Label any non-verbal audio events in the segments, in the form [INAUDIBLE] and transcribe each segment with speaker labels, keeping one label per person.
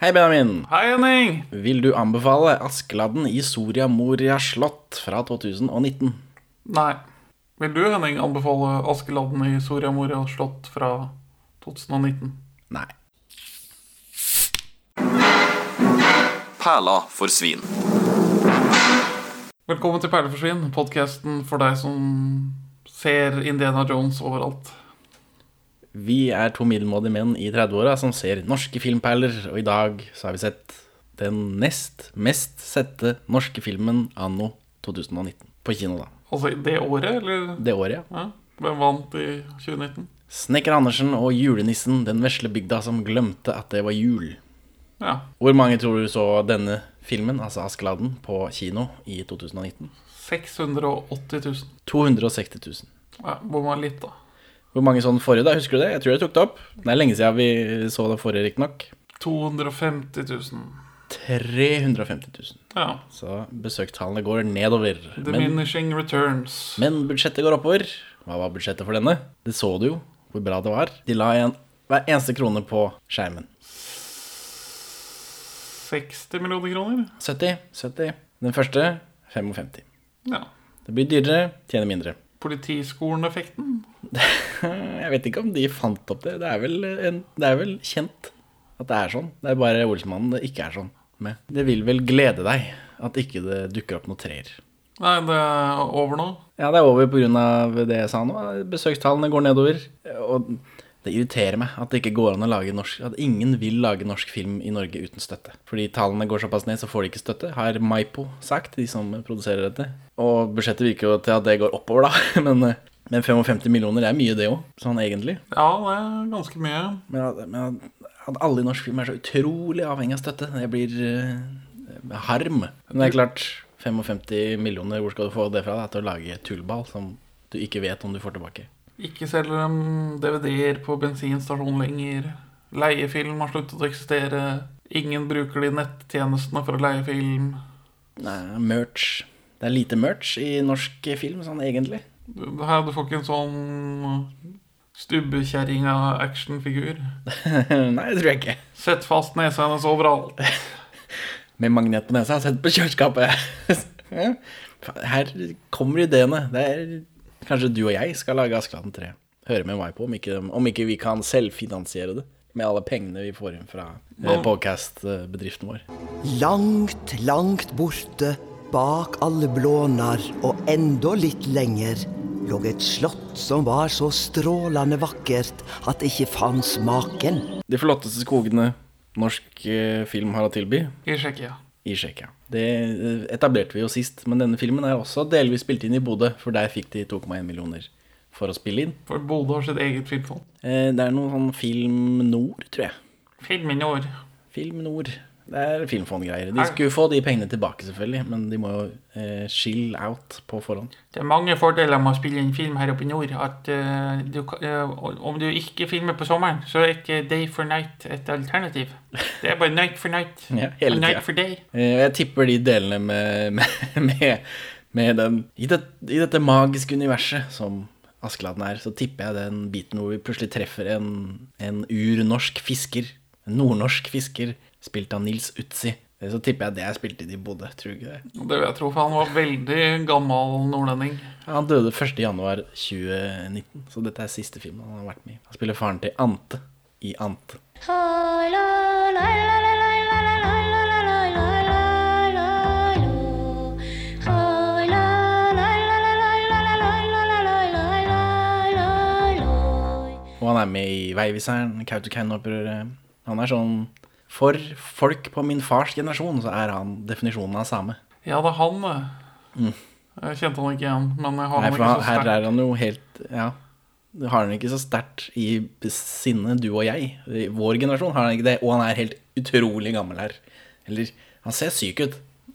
Speaker 1: Hei, Benjamin.
Speaker 2: Hei, Henning!
Speaker 1: Vil du anbefale 'Askeladden i Soria Moria slott' fra 2019?
Speaker 2: Nei. Vil du, Henning, anbefale Askeladden i Soria Moria slott fra 2019?
Speaker 1: Nei.
Speaker 3: Perla for svin.
Speaker 2: Velkommen til Perleforsvinn, podkasten for deg som ser Indiana Jones overalt.
Speaker 1: Vi er to middelmådige menn i 30-åra som ser norske filmperler, og i dag så har vi sett den nest mest sette norske filmen anno 2019. På kino, da.
Speaker 2: Altså i det året, eller?
Speaker 1: Det året, ja.
Speaker 2: Ja. Hvem vant i 2019?
Speaker 1: Snekker Andersen og julenissen, den vesle bygda som glemte at det var jul.
Speaker 2: Ja.
Speaker 1: Hvor mange tror du så denne filmen, altså 'Askeladden', på kino i 2019?
Speaker 2: 680 000.
Speaker 1: 260 000.
Speaker 2: Ja, Bomma litt, da.
Speaker 1: Hvor mange sånn forrige da, husker du det? Jeg tror jeg tok det opp. Det er lenge siden vi så det forrige, riktignok.
Speaker 2: 250 000.
Speaker 1: 350 000.
Speaker 2: Ja.
Speaker 1: Så besøkstallene går nedover. Men,
Speaker 2: Diminishing returns.
Speaker 1: men budsjettet går oppover. Hva var budsjettet for denne? Det så du jo, hvor bra det var. De la en, hver eneste krone på skjermen.
Speaker 2: 60 millioner kroner?
Speaker 1: 70, 70. Den første 55.
Speaker 2: Ja.
Speaker 1: Det blir dyrere, tjener mindre.
Speaker 2: Politiskolen-effekten?
Speaker 1: [LAUGHS] Jeg vet ikke om de fant opp det. Det er vel, en, det er vel kjent at det er sånn. Det er bare Olsmannen det ikke er sånn med. Det vil vel glede deg at ikke det dukker opp noen treer.
Speaker 2: Nei, det er over nå.
Speaker 1: Ja, det er over pga. det jeg sa nå. Besøkstallene går nedover. Og det irriterer meg at det ikke går an å lage norsk At ingen vil lage norsk film i Norge uten støtte. Fordi tallene går såpass ned, så får de ikke støtte, har Maipo sagt, de som produserer dette. Og budsjettet virker jo til at det går oppover, da. [LAUGHS] Men, eh, men 55 millioner er mye, det òg, sånn egentlig.
Speaker 2: Ja, det er ganske mye.
Speaker 1: Men, at- men at- at alle i norsk film er så utrolig avhengig av støtte, det blir eh, harm. Men det er klart, 55 millioner, hvor skal du få det fra? Da? Til å lage tullball som du ikke vet om du får tilbake.
Speaker 2: Ikke selger dem DVD-er på bensinstasjon lenger. Leiefilm har sluttet å eksistere. Ingen bruker de nettjenestene for å leie film.
Speaker 1: Nei, merch. Det er lite merch i norsk film, sånn egentlig. [LAUGHS]
Speaker 2: Du, det her, du får ikke en sånn stubbekjerringa-actionfigur.
Speaker 1: Nei, det tror jeg ikke.
Speaker 2: Sett fast nesa hennes overalt.
Speaker 1: Med magnet på nesa, sett på kjøleskapet. [LAUGHS] Ja. Her kommer ideene. Det er kanskje du og jeg skal lage Askeladden 3. Høre med meg på om ikke, om ikke vi kan selvfinansiere det med alle pengene vi får inn fra
Speaker 2: Nå-
Speaker 1: podkast-bedriften vår.
Speaker 4: Langt, langt borte, bak alle blånar og enda litt lenger, lå et slott som var så strålande vakkert at det ikke fanns maken.
Speaker 1: De flotteste skogene norsk eh, film har å tilby,
Speaker 2: I Tsjekkia.
Speaker 1: i Tsjekkia. Det eh, etablerte vi jo sist, men denne filmen er også delvis spilt inn i Bodø, for der fikk de 2,1 millioner for å spille inn.
Speaker 2: For Bodø har sitt eget filmfond.
Speaker 1: Eh, Det er noe sånn Film Nord, tror jeg.
Speaker 2: Filmen i år.
Speaker 1: Film Nord. Det er filmfondgreier. De
Speaker 2: Er-
Speaker 1: skulle få de pengene tilbake, selvfølgelig, men de må jo eh, chill out på forhånd.
Speaker 2: Det er mange fordeler med å spille inn film her oppe i nord. At eh, du, ka- eh, Om du ikke filmer på sommeren, så er ikke day for night et alternativ. Det er bare night for night.
Speaker 1: [LAUGHS] Ja, hele
Speaker 2: og
Speaker 1: tida.
Speaker 2: night for day.
Speaker 1: Eh, og jeg tipper de delene med, med, med, med den i, det, I dette magiske universet som Askeladden er, så tipper jeg den biten hvor vi plutselig treffer en, en urnorsk fisker. En nordnorsk fisker spilt av Nils Utsi. Eh, Så tipper jeg det er spilt inn i Bodø, tror du ikke det?
Speaker 2: Og Det vil jeg tro, for han var veldig gammel nordlending.
Speaker 1: Han døde 1.1.2019, så dette er siste filmen han har vært med i. Han spiller faren til Ante i Ante. Og han er med i Veiviseren, Kautokeino-opprøret. Han er sånn For folk på min fars generasjon så er han definisjonen av same.
Speaker 2: Ja, det er han. det. Jeg kjente han ikke igjen, men jeg har
Speaker 1: Mm. Nei,
Speaker 2: han
Speaker 1: for
Speaker 2: ikke
Speaker 1: han,
Speaker 2: så
Speaker 1: her
Speaker 2: sterkt.
Speaker 1: er han jo helt Ja. Du har han ikke så sterkt i sinnet, du og jeg. I vår generasjon har han ikke det. Og han er helt utrolig gammel her. Eller Han ser syk ut,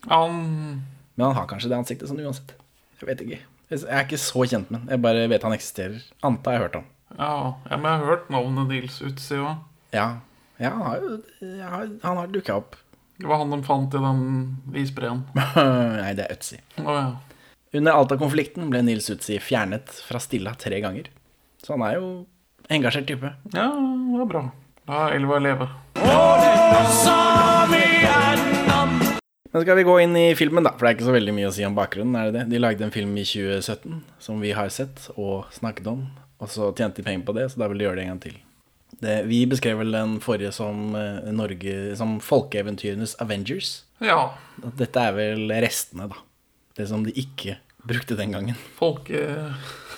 Speaker 2: Han,
Speaker 1: men han har kanskje det ansiktet sånn uansett. Jeg vet ikke. Jeg er ikke så kjent med han. Jeg bare vet han eksisterer. Ante har jeg hørt om.
Speaker 2: ja, ja, men jeg har hørt navnet Nils Utsi òg.
Speaker 1: Ja. ja han har jo jeg har- Han har dukka opp. [LAUGHS]
Speaker 2: Det var han de fant i den isbreen.
Speaker 1: Nei, det er Øtzi.
Speaker 2: Å ja.
Speaker 1: Under Alta-konflikten ble Nils Utsi fjernet fra Stilla tre ganger. Så han er jo engasjert type.
Speaker 2: ja, det er bra. Da er elva leve.
Speaker 3: Og denne sang
Speaker 1: Men skal vi gå inn i filmen, da? For det er ikke så veldig mye å si om bakgrunnen. er det det? De lagde en film i 2017 som vi har sett og snakket om. Og så tjente de penger på det, så da vil de gjøre det en gang til. Det, vi beskrev vel den forrige som, eh, Norge, som folkeeventyrenes Avengers.
Speaker 2: Ja.
Speaker 1: At Dette er vel restene, da. Det som de ikke brukte den gangen.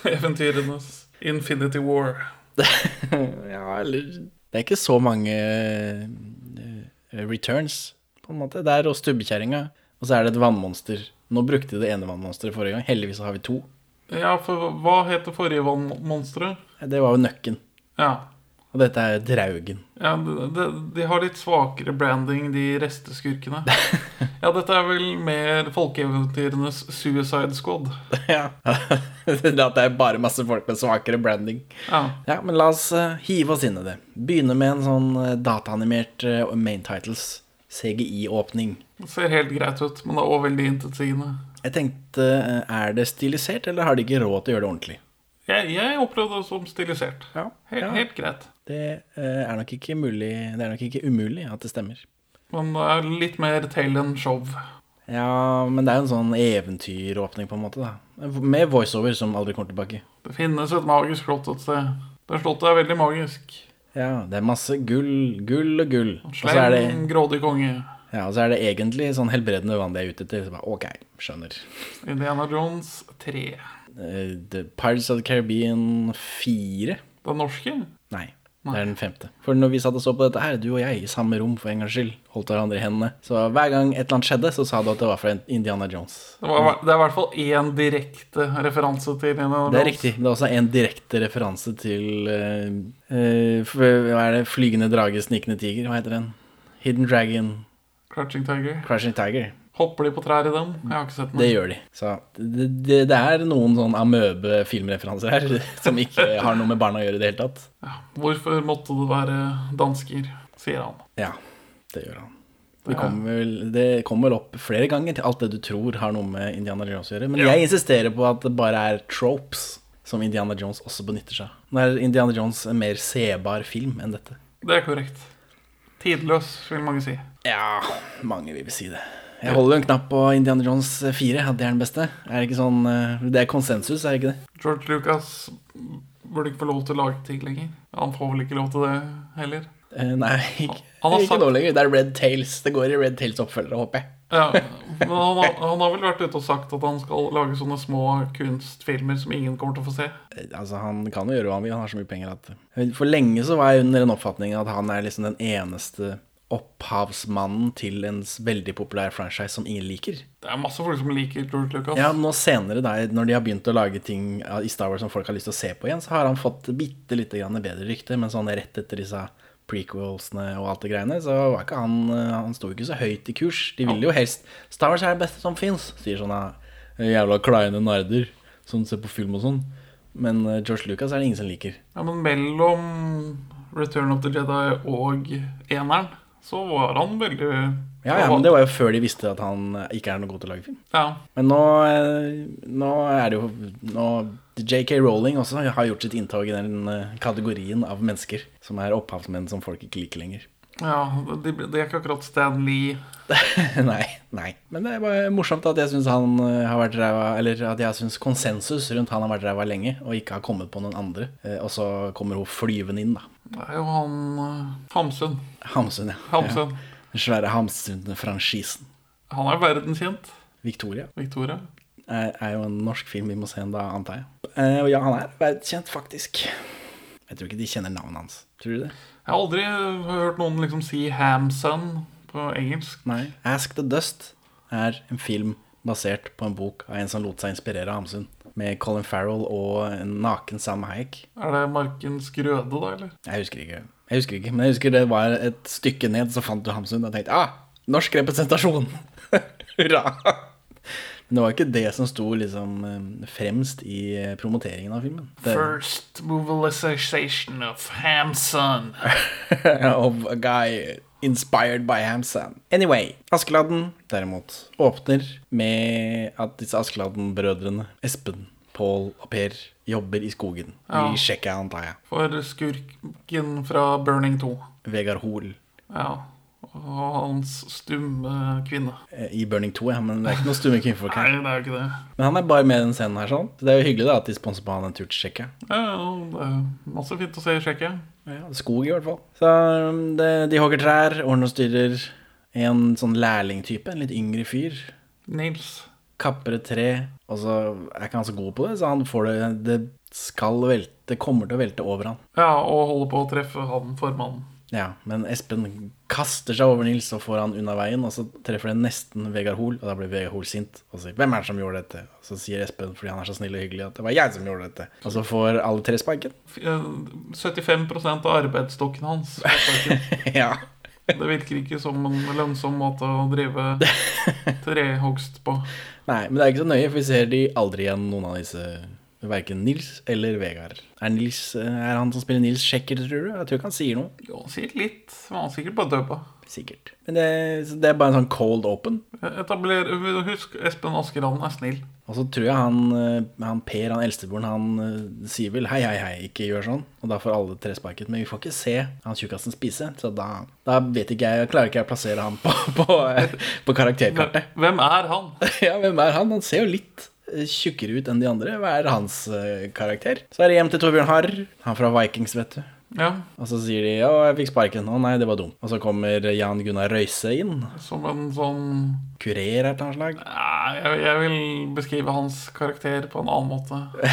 Speaker 2: Folkeeventyrenes Infinity War.
Speaker 1: [LAUGHS] ja, eller Det er ikke så mange eh, returns, på en måte. Det er og stubbekjerringa, og så er det et vannmonster. Nå brukte de det ene vannmonsteret forrige gang. Heldigvis så har vi to.
Speaker 2: Ja, for hva het det forrige vannmonsteret?
Speaker 1: Det var jo nøkken.
Speaker 2: Ja.
Speaker 1: Og dette er draugen.
Speaker 2: ja de, de, de har litt svakere branding, de
Speaker 1: [LAUGHS]
Speaker 2: resteskurkene. Ja, dette er vel mer folkeeventyrenes Suicide Squad.
Speaker 1: [LAUGHS] ja. det [LAUGHS] at det er bare masse folk med svakere branding.
Speaker 2: Ja.
Speaker 1: Ja, men la oss eh, hive oss inn i det. Begynne med en sånn eh, dataanimert eh, main titles CGI-åpning.
Speaker 2: Det ser helt greit ut, men det er også veldig intetsigende.
Speaker 1: Jeg tenkte, eh, er det stilisert, eller har de ikke råd til å gjøre det ordentlig?
Speaker 2: Jeg, jeg opplevde det som stilisert.
Speaker 1: Ja,
Speaker 2: Helt,
Speaker 1: ja.
Speaker 2: helt greit.
Speaker 1: Det eh, er nok ikke mulig Det er nok ikke umulig at det stemmer.
Speaker 2: Men det er litt mer tale enn show.
Speaker 1: Ja, men det er jo en sånn eventyråpning, på en måte, da. Med voiceover som aldri kommer tilbake.
Speaker 2: Det finnes et magisk slott et sted. Det slottet er veldig magisk.
Speaker 1: Ja, det er masse gull, gull og gull. Og så er det,
Speaker 2: Slem, grådig konge.
Speaker 1: ja, og så er det egentlig sånn helbredende vann de er ute etter. Så bare, ok, skjønner.
Speaker 2: Indiana Jones 3.
Speaker 1: Eh, The Pirates of the Caribbean 4?
Speaker 2: Den norske?
Speaker 1: Nei. Det er den femte. For når vi satt og så på dette her, du og jeg i samme rom for en gangs skyld, holdt hverandre i hendene. Så hver gang et eller annet skjedde, så sa du at det var fra Indiana Jones.
Speaker 2: Det, var, det er i hvert fall én direkte referanse til Indiana Jones.
Speaker 1: Det er riktig. Det er også en direkte referanse til eh, eh, f- Hva er det? Flygende drage, snikende tiger? Hva heter den? Hidden Dragon,
Speaker 2: Crouching Tiger.
Speaker 1: Crashing Tiger.
Speaker 2: Hopper de på trær i den? Jeg har ikke sett den.
Speaker 1: Det gjør de. Så det, det, det er noen sånn amøbe filmreferanser her [LAUGHS] som ikke har noe med barna å gjøre i det hele tatt.
Speaker 2: Ja. Hvorfor måtte det være dansker, sier han.
Speaker 1: Ja, det gjør han. Det kommer, vel, det kommer vel opp flere ganger til alt det du tror har noe med Indiana Jones å gjøre. Men jeg insisterer på at det bare er tropes som Indiana Jones også benytter seg av. Nå er Indiana Jones en mer sebar film enn dette.
Speaker 2: Det er korrekt. Tidløs, vil mange si.
Speaker 1: Ja, mange vil vel si det. Jeg holder jo en knapp på Indiana Jones 4, at det er den beste. Er det ikke sånn eh, Det er konsensus, er det ikke det?
Speaker 2: George Lucas burde ikke få lov til å lage ting lenger. Han får vel ikke lov til det heller.
Speaker 1: Eh, Nei, [LAUGHS] ikke,
Speaker 2: Han har
Speaker 1: ikke
Speaker 2: sagt-
Speaker 1: nå lenger. Det er Red Tales. Det går i Red Tales oppfølgere, håper jeg.
Speaker 2: Ja, men han har, han har vel vært ute og sagt at han skal lage sånne små kunstfilmer som ingen kommer til å få se.
Speaker 1: Eh, Altså, Han kan jo gjøre hva han vil, han har så mye penger at eh, For lenge så var jeg under den oppfatningen at han er liksom den eneste opphavsmannen til en s- veldig populær franchise som ingen liker.
Speaker 2: Det er masse folk som liker George Lucas.
Speaker 1: Ja, nå senere, da, når de har begynt å lage ting av- i Star Wars som folk har lyst til å se på igjen, så har han fått bitte lite grann bedre rykte, men sånn rett etter disse prequelsene og alt det greiene, så var ikke han eh, Han sto ikke så høyt i kurs. De ville jo helst Star Wars er det beste som fins, sier sånne jævla kleine nerder som ser på film og sånn. Men eh, George Lucas er det ingen som liker.
Speaker 2: Ja, men mellom Return of the Jedi og eneren, så var han veldig
Speaker 1: Ja, ja, men det var jo før de visste at han eh, ikke er noe god til å lage film.
Speaker 2: Ja,
Speaker 1: Men nå, eh, nå er det jo nå, JK Rowling også har gjort sitt inntog i den eh, kategorien av mennesker som er opphavsmenn som folk ikke liker lenger. [LAUGHS]
Speaker 2: ja det, det er ikke akkurat Stan Lee.
Speaker 1: nei, nei. Men det er bare morsomt at jeg syns han eh, har vært ræva Eller at jeg syns konsensus rundt han har vært ræva lenge, og ikke har kommet på noen andre. Eh, Og så kommer hun flyvende inn, da.
Speaker 2: Det er jo han eh, Hamsun.
Speaker 1: Hamsun, ja.
Speaker 2: Hamsun.
Speaker 1: ja. Den svære Hamsun-franchisen.
Speaker 2: Han er verdenskjent.
Speaker 1: Victoria.
Speaker 2: Victoria.
Speaker 1: er, Eh, er jo en norsk film vi må se en dag, antar jeg. Eh, og ja, han er verdenskjent, faktisk. Jeg tror ikke de kjenner navnet hans. Tror du det?
Speaker 2: Jeg har aldri hørt noen liksom si Hamsun på engelsk.
Speaker 1: Nei. Ask the Dust er en film basert på en bok av en som lot seg inspirere av Hamsun. Med Colin Farrell og en naken Sam Hayek.
Speaker 2: Er det Markens Grøde, da, eller?
Speaker 1: Jeg husker ikke, jeg husker ikke men jeg husker det var et stykke ned, så fant du Hamsun og tenkte ah, norsk representasjon! [LAUGHS] Hurra! Men det var ikke det som sto liksom eh, fremst i eh, promoteringen av filmen. Det,
Speaker 2: First mobilization of Hamsun.
Speaker 1: [LAUGHS] of a guy inspired by Hamsun. Anyway, Askeladden derimot åpner med at disse Askeladden-brødrene, Espen, Pål og Per, jobber i skogen.
Speaker 2: Ja.
Speaker 1: I Tsjekkia, antar jeg.
Speaker 2: For skurken fra Burning 2.
Speaker 1: Vegard Hoel.
Speaker 2: Ja. og hans stumme kvinne.
Speaker 1: eh, i Burning 2, ja, men det er ikke noe stumme kvinnfolk her.
Speaker 2: Nei, det er jo ikke det.
Speaker 1: Men han er bare med i den scenen her, sånn. Så det er jo hyggelig da at de sponser på han en tur til Tsjekkia.
Speaker 2: Ja, ja, det er masse fint å se i Tsjekkia.
Speaker 1: Ja, skog, i hvert fall. Så um, det, de hogger trær, ordner og styrer. En sånn lærlingtype, en litt yngre fyr.
Speaker 2: Nils.
Speaker 1: Kapper et tre, og så er ikke han så god på det, så han får det Det skal velte, det kommer til å velte over han.
Speaker 2: Ja, og holder på å treffe han formannen.
Speaker 1: Ja, men Espen kaster seg over Nils og får han unna veien, og så treffer det nesten Vegard Hoel, og da blir Vegard Hoel sint og sier 'Hvem er det som gjorde dette?' Og så sier Espen, fordi han er så snill og hyggelig, at 'det var jeg som gjorde dette'. Og så får alle tre sparken. [LAUGHS]
Speaker 2: F- eh, 75 av arbeidsstokken hans.
Speaker 1: [LAUGHS]
Speaker 2: Det
Speaker 1: ja.
Speaker 2: virker ikke som en lønnsom måte å drive trehogst på.
Speaker 1: Nei, men det er ikke så nøye, for vi ser de aldri igjen, noen av disse. Verken Nils eller Vegard. Er, Nils, eh, er han som spiller Nils sjekker, tror du? Jeg tror ikke han sier noe.
Speaker 2: Jo, sikkert litt. men Han er sikkert bare døpa.
Speaker 1: Sikkert. Men det, så det er bare en sånn cold open.
Speaker 2: Etabler, husk, Espen Askeland er snill.
Speaker 1: Og så tror jeg han, eh, han Per, han eldstebroren, han eh, sier vel hei, hei, hei, ikke gjør sånn. Og da får alle tre sparket. Men vi får ikke se han tjukkasen spise, så da, da vet ikke jeg, klarer ikke jeg å plassere han på, på, eh, på [LAUGHS] karakterkartet.
Speaker 2: Hvem er han?
Speaker 1: [LAUGHS] Ja, hvem er han? Han ser jo litt eh, tjukkere ut enn de andre. Hva er hans eh, karakter? Så er det hjem til Torbjørn Harr, han fra Vikings, vet du.
Speaker 2: Ja,
Speaker 1: Og så sier de 'Å, jeg fikk sparken'. 'Å nei, det var dumt'. Og så kommer Jan Gunnar Røise inn.
Speaker 2: som en sånn
Speaker 1: Kurer av et eller annet slag.
Speaker 2: Nei, jeg, jeg vil beskrive hans karakter på en annen måte.
Speaker 1: [LAUGHS]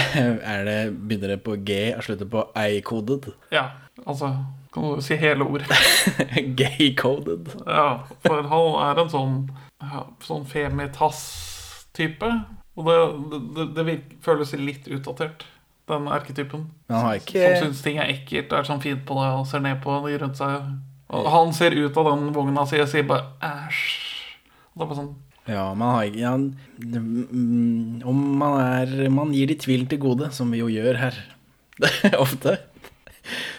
Speaker 1: Er det, begynner det på G og slutter på ei-kodet?
Speaker 2: Ja, altså Kan du si hele ordet?
Speaker 1: [LAUGHS] Gay-coded.
Speaker 2: [LAUGHS] Ja, for han er en sånn, ja, sånn femitass-type. Og det, det, det virk, føles litt utdatert, den erketypen.
Speaker 1: Men han har ikke
Speaker 2: Som syns ting er ekkelt, er sånn fint på det og ser ned på de rundt seg. Og han ser ut av den vogna si og sier bare æsj. Og det er bare sånn
Speaker 1: Ja, man har ikke ja, mm, Om man er Man gir de tvilen til gode, som vi jo gjør her [LAUGHS] ofte.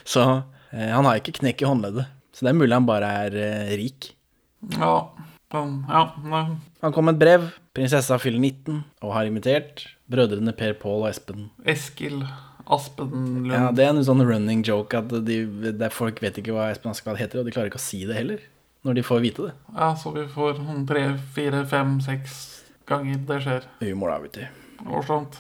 Speaker 1: Så eh, han har ikke knekk i håndleddet. Så det er mulig han bare er eh, rik.
Speaker 2: Ja. Den, ja, nei.
Speaker 1: Han kom med et brev. Prinsessa fyller 19 og har invitert brødrene Per Pål og Espen.
Speaker 2: Eskil Aspenlund.
Speaker 1: Ja, Det er en sånn running joke at de, der folk vet ikke hva Espen Askeladd heter, og de klarer ikke å si det heller. Når de får vite det.
Speaker 2: ja, så vi får sånn tre, fire, fem, seks ganger det skjer.
Speaker 1: Humor, da, vet du.
Speaker 2: Årsomt.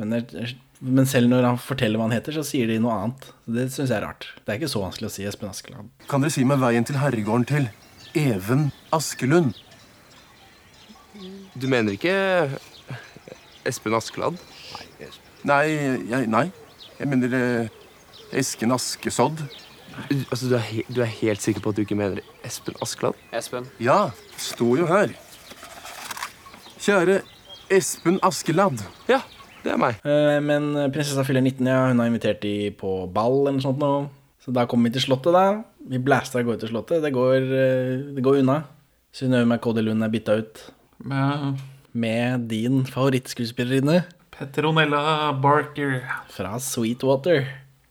Speaker 1: Men, det- men selv når han forteller hva han heter, så sier de noe annet. Så Det syns jeg er rart. Det er ikke så vanskelig å si Espen Askeland.
Speaker 3: Kan dere si meg veien til herregården til Even Askelund?
Speaker 5: Du mener ikke eh, Espen Askeladd?
Speaker 3: Nei, jeg, nei. Jeg mener eh, Esken Askesodd.
Speaker 5: Altså, du er, he du er helt sikker på at du ikke mener Espen Askeladd?
Speaker 6: Espen.
Speaker 3: Ja, står jo her. Kjære Espen Askeladd.
Speaker 5: Ja, det er meg.
Speaker 1: Eh, Men prinsessa fyller 19, ja. Hun har invitert de på ball eller noe sånt. Nå. Så da kommer vi til Slottet, da. Vi blaster av gårde til Slottet. Det går, eh, det går unna. Synnøve Mercode Lund er bytta ut
Speaker 2: Med
Speaker 1: med din favorittskuespillerinne
Speaker 2: Petronella Barker.
Speaker 1: fra Sweetwater.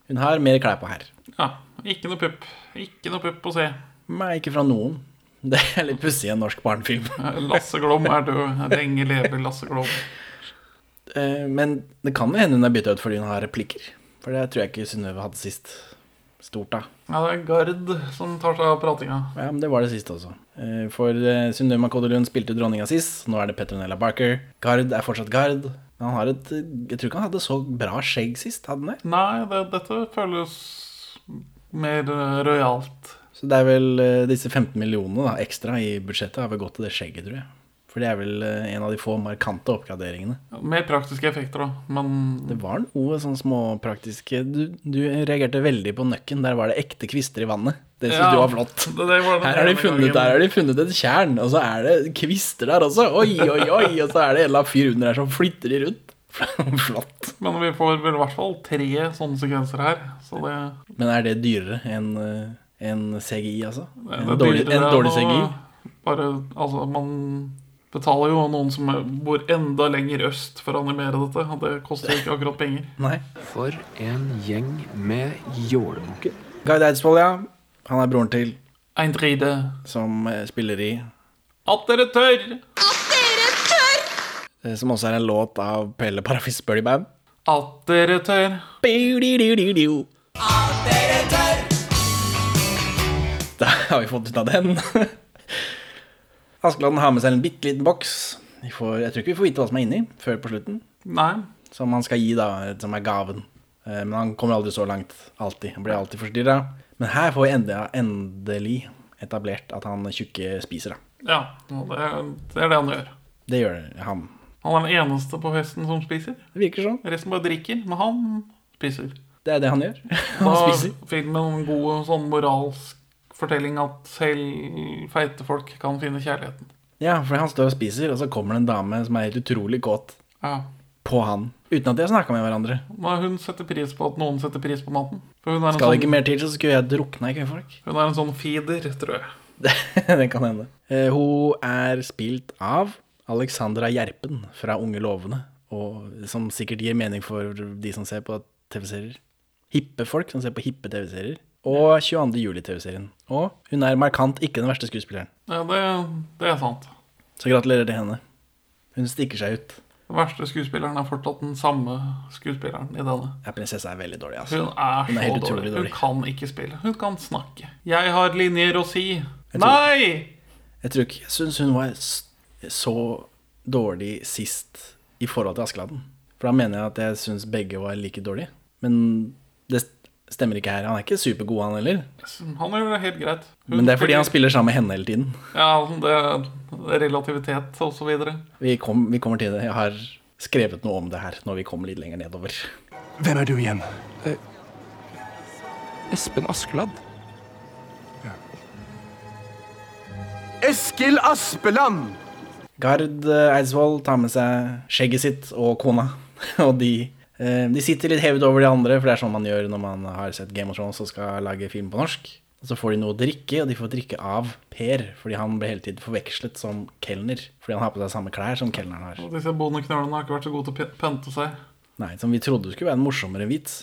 Speaker 1: Hun har mer klær på her.
Speaker 2: Ja, ikke noe pupp. Ikke noe pupp å se.
Speaker 1: Nei, ikke fra noen. Det er litt pussig i en norsk barnefilm.
Speaker 2: Eh, Lasse Glom er død. Lenge lever Lasse Glom.
Speaker 1: Eh, Men det kan jo hende hun er bytta ut fordi hun har replikker. For det tror jeg ikke Synnøve hadde sist. Stort, da.
Speaker 2: Ja, det er Gard som tar seg av pratinga.
Speaker 1: Ja, men det var det siste også. Eh, For eh, Synnøve Makodo Lund spilte dronninga sist, nå er det Petronella Barker. Gard er fortsatt Gard. Men han har et Jeg tror ikke han hadde så bra skjegg sist, hadde han det?
Speaker 2: Nei, det, dette føles mer eh, rojalt.
Speaker 1: Så det er vel eh, disse 15 millionene da, ekstra i budsjettet har vel gått til det skjegget, tror jeg. For det er vel eh, en av de få markante oppgraderingene.
Speaker 2: Mer praktiske effekter, da. Men
Speaker 1: Det var noe sånn småpraktiske du, du reagerte veldig på nøkken. Der var det ekte kvister i vannet. Det syns
Speaker 2: Ja,
Speaker 1: du var flott.
Speaker 2: det- det var den
Speaker 1: her har de
Speaker 2: ene
Speaker 1: funnet,
Speaker 2: gangen.
Speaker 1: der har de funnet et tjern, og så er det kvister der også. Oi, oi, oi. Og så er det en eller annen fyr under her som flytter de rundt. flott.
Speaker 2: Men vi får vel i hvert fall tre sånne sekvenser her. Så det,
Speaker 1: Men er det dyrere enn eh, enn CGI, altså?
Speaker 2: Eh, det
Speaker 1: En
Speaker 2: er
Speaker 1: dårlig,
Speaker 2: dyrere
Speaker 1: en
Speaker 2: enn
Speaker 1: dårlig
Speaker 2: å-
Speaker 1: CGI?
Speaker 2: Bare, altså, man betaler jo noen som bor enda lenger øst for å animere dette. og Det koster jo ikke akkurat penger.
Speaker 1: Nei.
Speaker 6: For en gjeng med jålebukker.
Speaker 1: Guy Eidsvoll, ja. Han er broren til,
Speaker 2: Ein tride.
Speaker 1: som eh, spiller i
Speaker 2: At dere tør!
Speaker 1: eh, Som også er en låt av Pelle Parafis Birdie Band.
Speaker 2: At dere tør.
Speaker 1: Da har vi fått ut av den. Askeladden har med seg en bitte liten boks. Vi får, jeg tror ikke vi får vite hva som er inni før på slutten.
Speaker 2: Nei.
Speaker 1: Som han skal gi, da, som er gaven. Eh, Men han kommer aldri så langt. Alltid. Han blir alltid forstyrra. Men her får vi endelig, endelig etablert at han tjukke spiser, da.
Speaker 2: Ja, og det, det er det han gjør.
Speaker 1: Det gjør han.
Speaker 2: Han er den eneste på festen som spiser.
Speaker 1: Det virker sånn.
Speaker 2: Resten bare drikker, men han spiser.
Speaker 1: Det er det han gjør. Han
Speaker 2: Da
Speaker 1: spiser.
Speaker 2: fikk man en god sånn moralsk fortelling at selv feite folk kan finne kjærligheten.
Speaker 1: Ja, for han står og spiser, og så kommer det en dame som er helt utrolig kåt
Speaker 2: Ja.
Speaker 1: på han. Uten at de har snakka med hverandre.
Speaker 2: Men hun setter pris på at noen setter pris på maten. For hun er en,
Speaker 1: Skal det ikke
Speaker 2: sånn,
Speaker 1: mer til, så skulle jeg drukna i kvinnfolk.
Speaker 2: hun er en sånn feeder, tror
Speaker 1: [LAUGHS]
Speaker 2: jeg.
Speaker 1: Det, det kan hende. Eh, hun er spilt av Alexandra Gjerpen fra Unge lovende, og som sikkert gir mening for de som ser på TV-serier. Hippe folk som ser på hippe TV-serier. Og 22. juli-TV-serien. Og hun er markant ikke den verste skuespilleren.
Speaker 2: Ja, det, det er sant.
Speaker 1: Så gratulerer til henne. Hun stikker seg ut.
Speaker 2: Den verste skuespilleren er fortsatt den samme skuespilleren i denne.
Speaker 1: Ja, prinsessa er veldig dårlig, altså.
Speaker 2: Hun er
Speaker 1: Hun er
Speaker 2: så
Speaker 1: helt utrolig
Speaker 2: dårlig. Hun
Speaker 1: dårlig.
Speaker 2: kan ikke spille. Hun kan snakke. Jeg har linjer å si.
Speaker 1: tror-
Speaker 2: Nei!
Speaker 1: Jeg tror ikke Jeg syns hun var s- så dårlig sist i forhold til Askeladden. For da mener jeg at jeg syns begge var like dårlige. Men det st- stemmer ikke her. Han er ikke supergod, han heller.
Speaker 2: Han gjør det helt greit. Hun
Speaker 1: Men det er fordi han spiller sammen med henne hele tiden.
Speaker 2: Ja, altså, det er relativitet og så videre.
Speaker 1: Vi, kom, vi kommer til det. Jeg har skrevet noe om det her når vi kommer litt lenger nedover.
Speaker 3: Hvem er du igjen?
Speaker 5: Eh, Espen Askeladd.
Speaker 3: Eskil Aspeland!
Speaker 1: Gard eh, Eidsvoll tar med seg skjegget sitt og kona. [LAUGHS] Og de, eh, de sitter litt hevet over de andre, for det er sånn man gjør når man har sett Game of Thrones og skal lage film på norsk. Og så får de noe å drikke, og de får drikke av Per, fordi han ble hele tiden forvekslet som kelner. Fordi han har på seg samme klær som kelneren har.
Speaker 2: Og disse bondeknølene har ikke vært så gode til å p- pynte seg.
Speaker 1: Nei, som vi trodde skulle være en morsommere vits.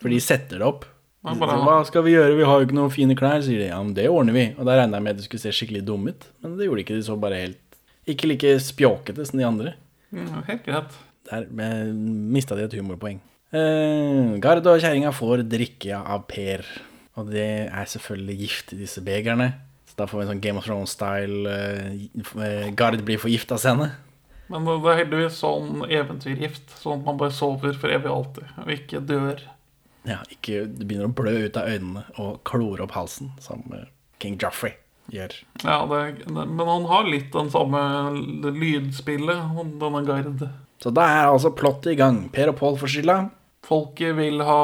Speaker 1: For de setter det opp.
Speaker 2: Ja,
Speaker 1: Så,
Speaker 2: bare-
Speaker 1: Hva skal vi gjøre, vi har jo ikke noen fine klær, sier de. Ja, men det ordner vi. Og da regna jeg med at de skulle se skikkelig dumme ut, men det gjorde de ikke. De så bare helt Ikke like spjåkete som de andre.
Speaker 2: Mm, Helt greit.
Speaker 1: Der mista de et humorpoeng. Eh, Gard og kjerringa får drikke av Per. Og det er selvfølgelig gift i disse begerne. Så da får vi en sånn Game of Thrones-style eh, gi- eh, Gard blir forgifta-scene.
Speaker 2: Men det det er heldigvis sånn eventyrgift, sånn at man bare sover for evig og alltid, og ikke dør.
Speaker 1: Ja, ikke, det begynner å blø ut av øynene og klore opp halsen, som eh, King Joffrey gjør.
Speaker 2: Ja, det, det, Men han har litt den samme l- lydspillet, han- denne Gard.
Speaker 1: Så da er altså plottet i gang. Per og Pål får skylda.
Speaker 2: Folket vil ha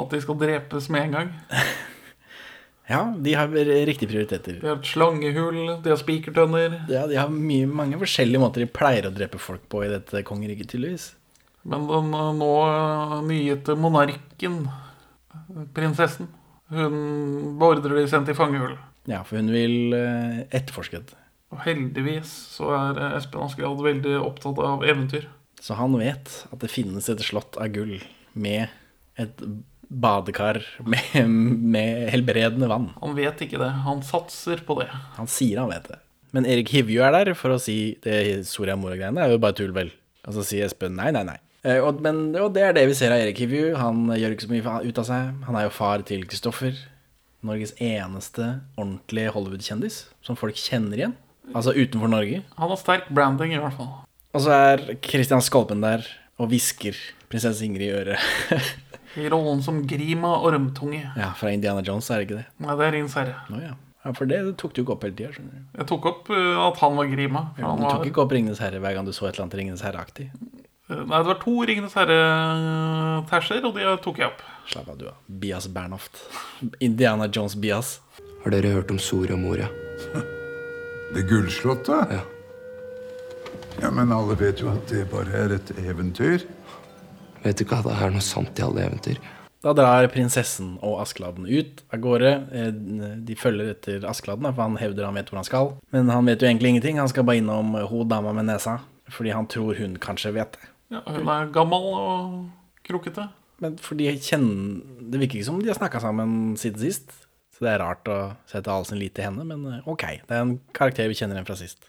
Speaker 2: at de skal drepes med en gang.
Speaker 1: Ja, de har riktige prioriteter.
Speaker 2: De har et slangehull, de har spikertønner.
Speaker 1: Ja, de har mye, mange forskjellige måter de pleier å drepe folk på i dette kongeriket, tydeligvis.
Speaker 2: Men den eh, nå eh, nyete monarken, eh, prinsessen, hun beordrer de sendt i fangehull.
Speaker 1: Ja, for hun vil eh, etterforske det.
Speaker 2: Og heldigvis så er eh, Espen Askeladd veldig opptatt av eventyr.
Speaker 1: Så han vet at det finnes et slott av gull med et badekar med, med helbredende vann.
Speaker 2: Han vet ikke det. Han satser på det.
Speaker 1: Han sier han vet det. Men Erik Hivju er der for å si det Soria Moria-greiene er jo bare tull, vel. Og så sier Espen nei, nei, nei. Eh, Og, men, og det er det vi ser av Erik Hivju. Han gjør ikke så mye fa- ut av seg. Han er jo far til Kristoffer. Norges eneste ordentlige Hollywood-kjendis som folk kjenner igjen. Altså utenfor Norge.
Speaker 2: Han har sterk branding, i hvert fall.
Speaker 1: Og så er Kristian Skolpen der og hvisker prinsesse Ingrid i øret. [LAUGHS]
Speaker 2: I rollen som Grima Ormtunge.
Speaker 1: ja, fra Indiana Jones, er det ikke det?
Speaker 2: Nei, det er Rins herre.
Speaker 1: Nå ja. ja. For det tok du ikke opp hele tida, skjønner du.
Speaker 2: Jeg tok opp eh, at han var Grima. For
Speaker 1: Du
Speaker 2: han
Speaker 1: tok
Speaker 2: var, Eh,
Speaker 1: ikke opp Ringenes herre hver gang du så et eller annet Ringenes herre-aktig.
Speaker 2: nei, det var to Ringenes herre-tæsjer, og de tok jeg opp.
Speaker 1: Slapp av, du, da. Bias Bernhoft. [LAUGHS] Indiana Jones Bias.
Speaker 5: Har dere hørt om Soria Moria?
Speaker 7: Det gullslottet?
Speaker 5: Ja.
Speaker 7: Ja, men alle vet jo at det bare er et eventyr.
Speaker 5: Vet du ikke at det er noe sant i alle eventyr?
Speaker 1: Da drar prinsessen og Askeladden ut av gårde. Eh, De følger etter Askeladden, da, for han hevder han vet hvor han skal. Men han vet jo egentlig ingenting. Han skal bare innom hun dama med nesa, fordi han tror hun kanskje vet det.
Speaker 2: Ja, hun er gammel og krokete.
Speaker 1: Men for de kjenner Det virker ikke som de har snakka sammen siden sist. Så det er rart å sette all sin lit til henne, men eh, ok. Det er en karakter vi kjenner igjen fra sist.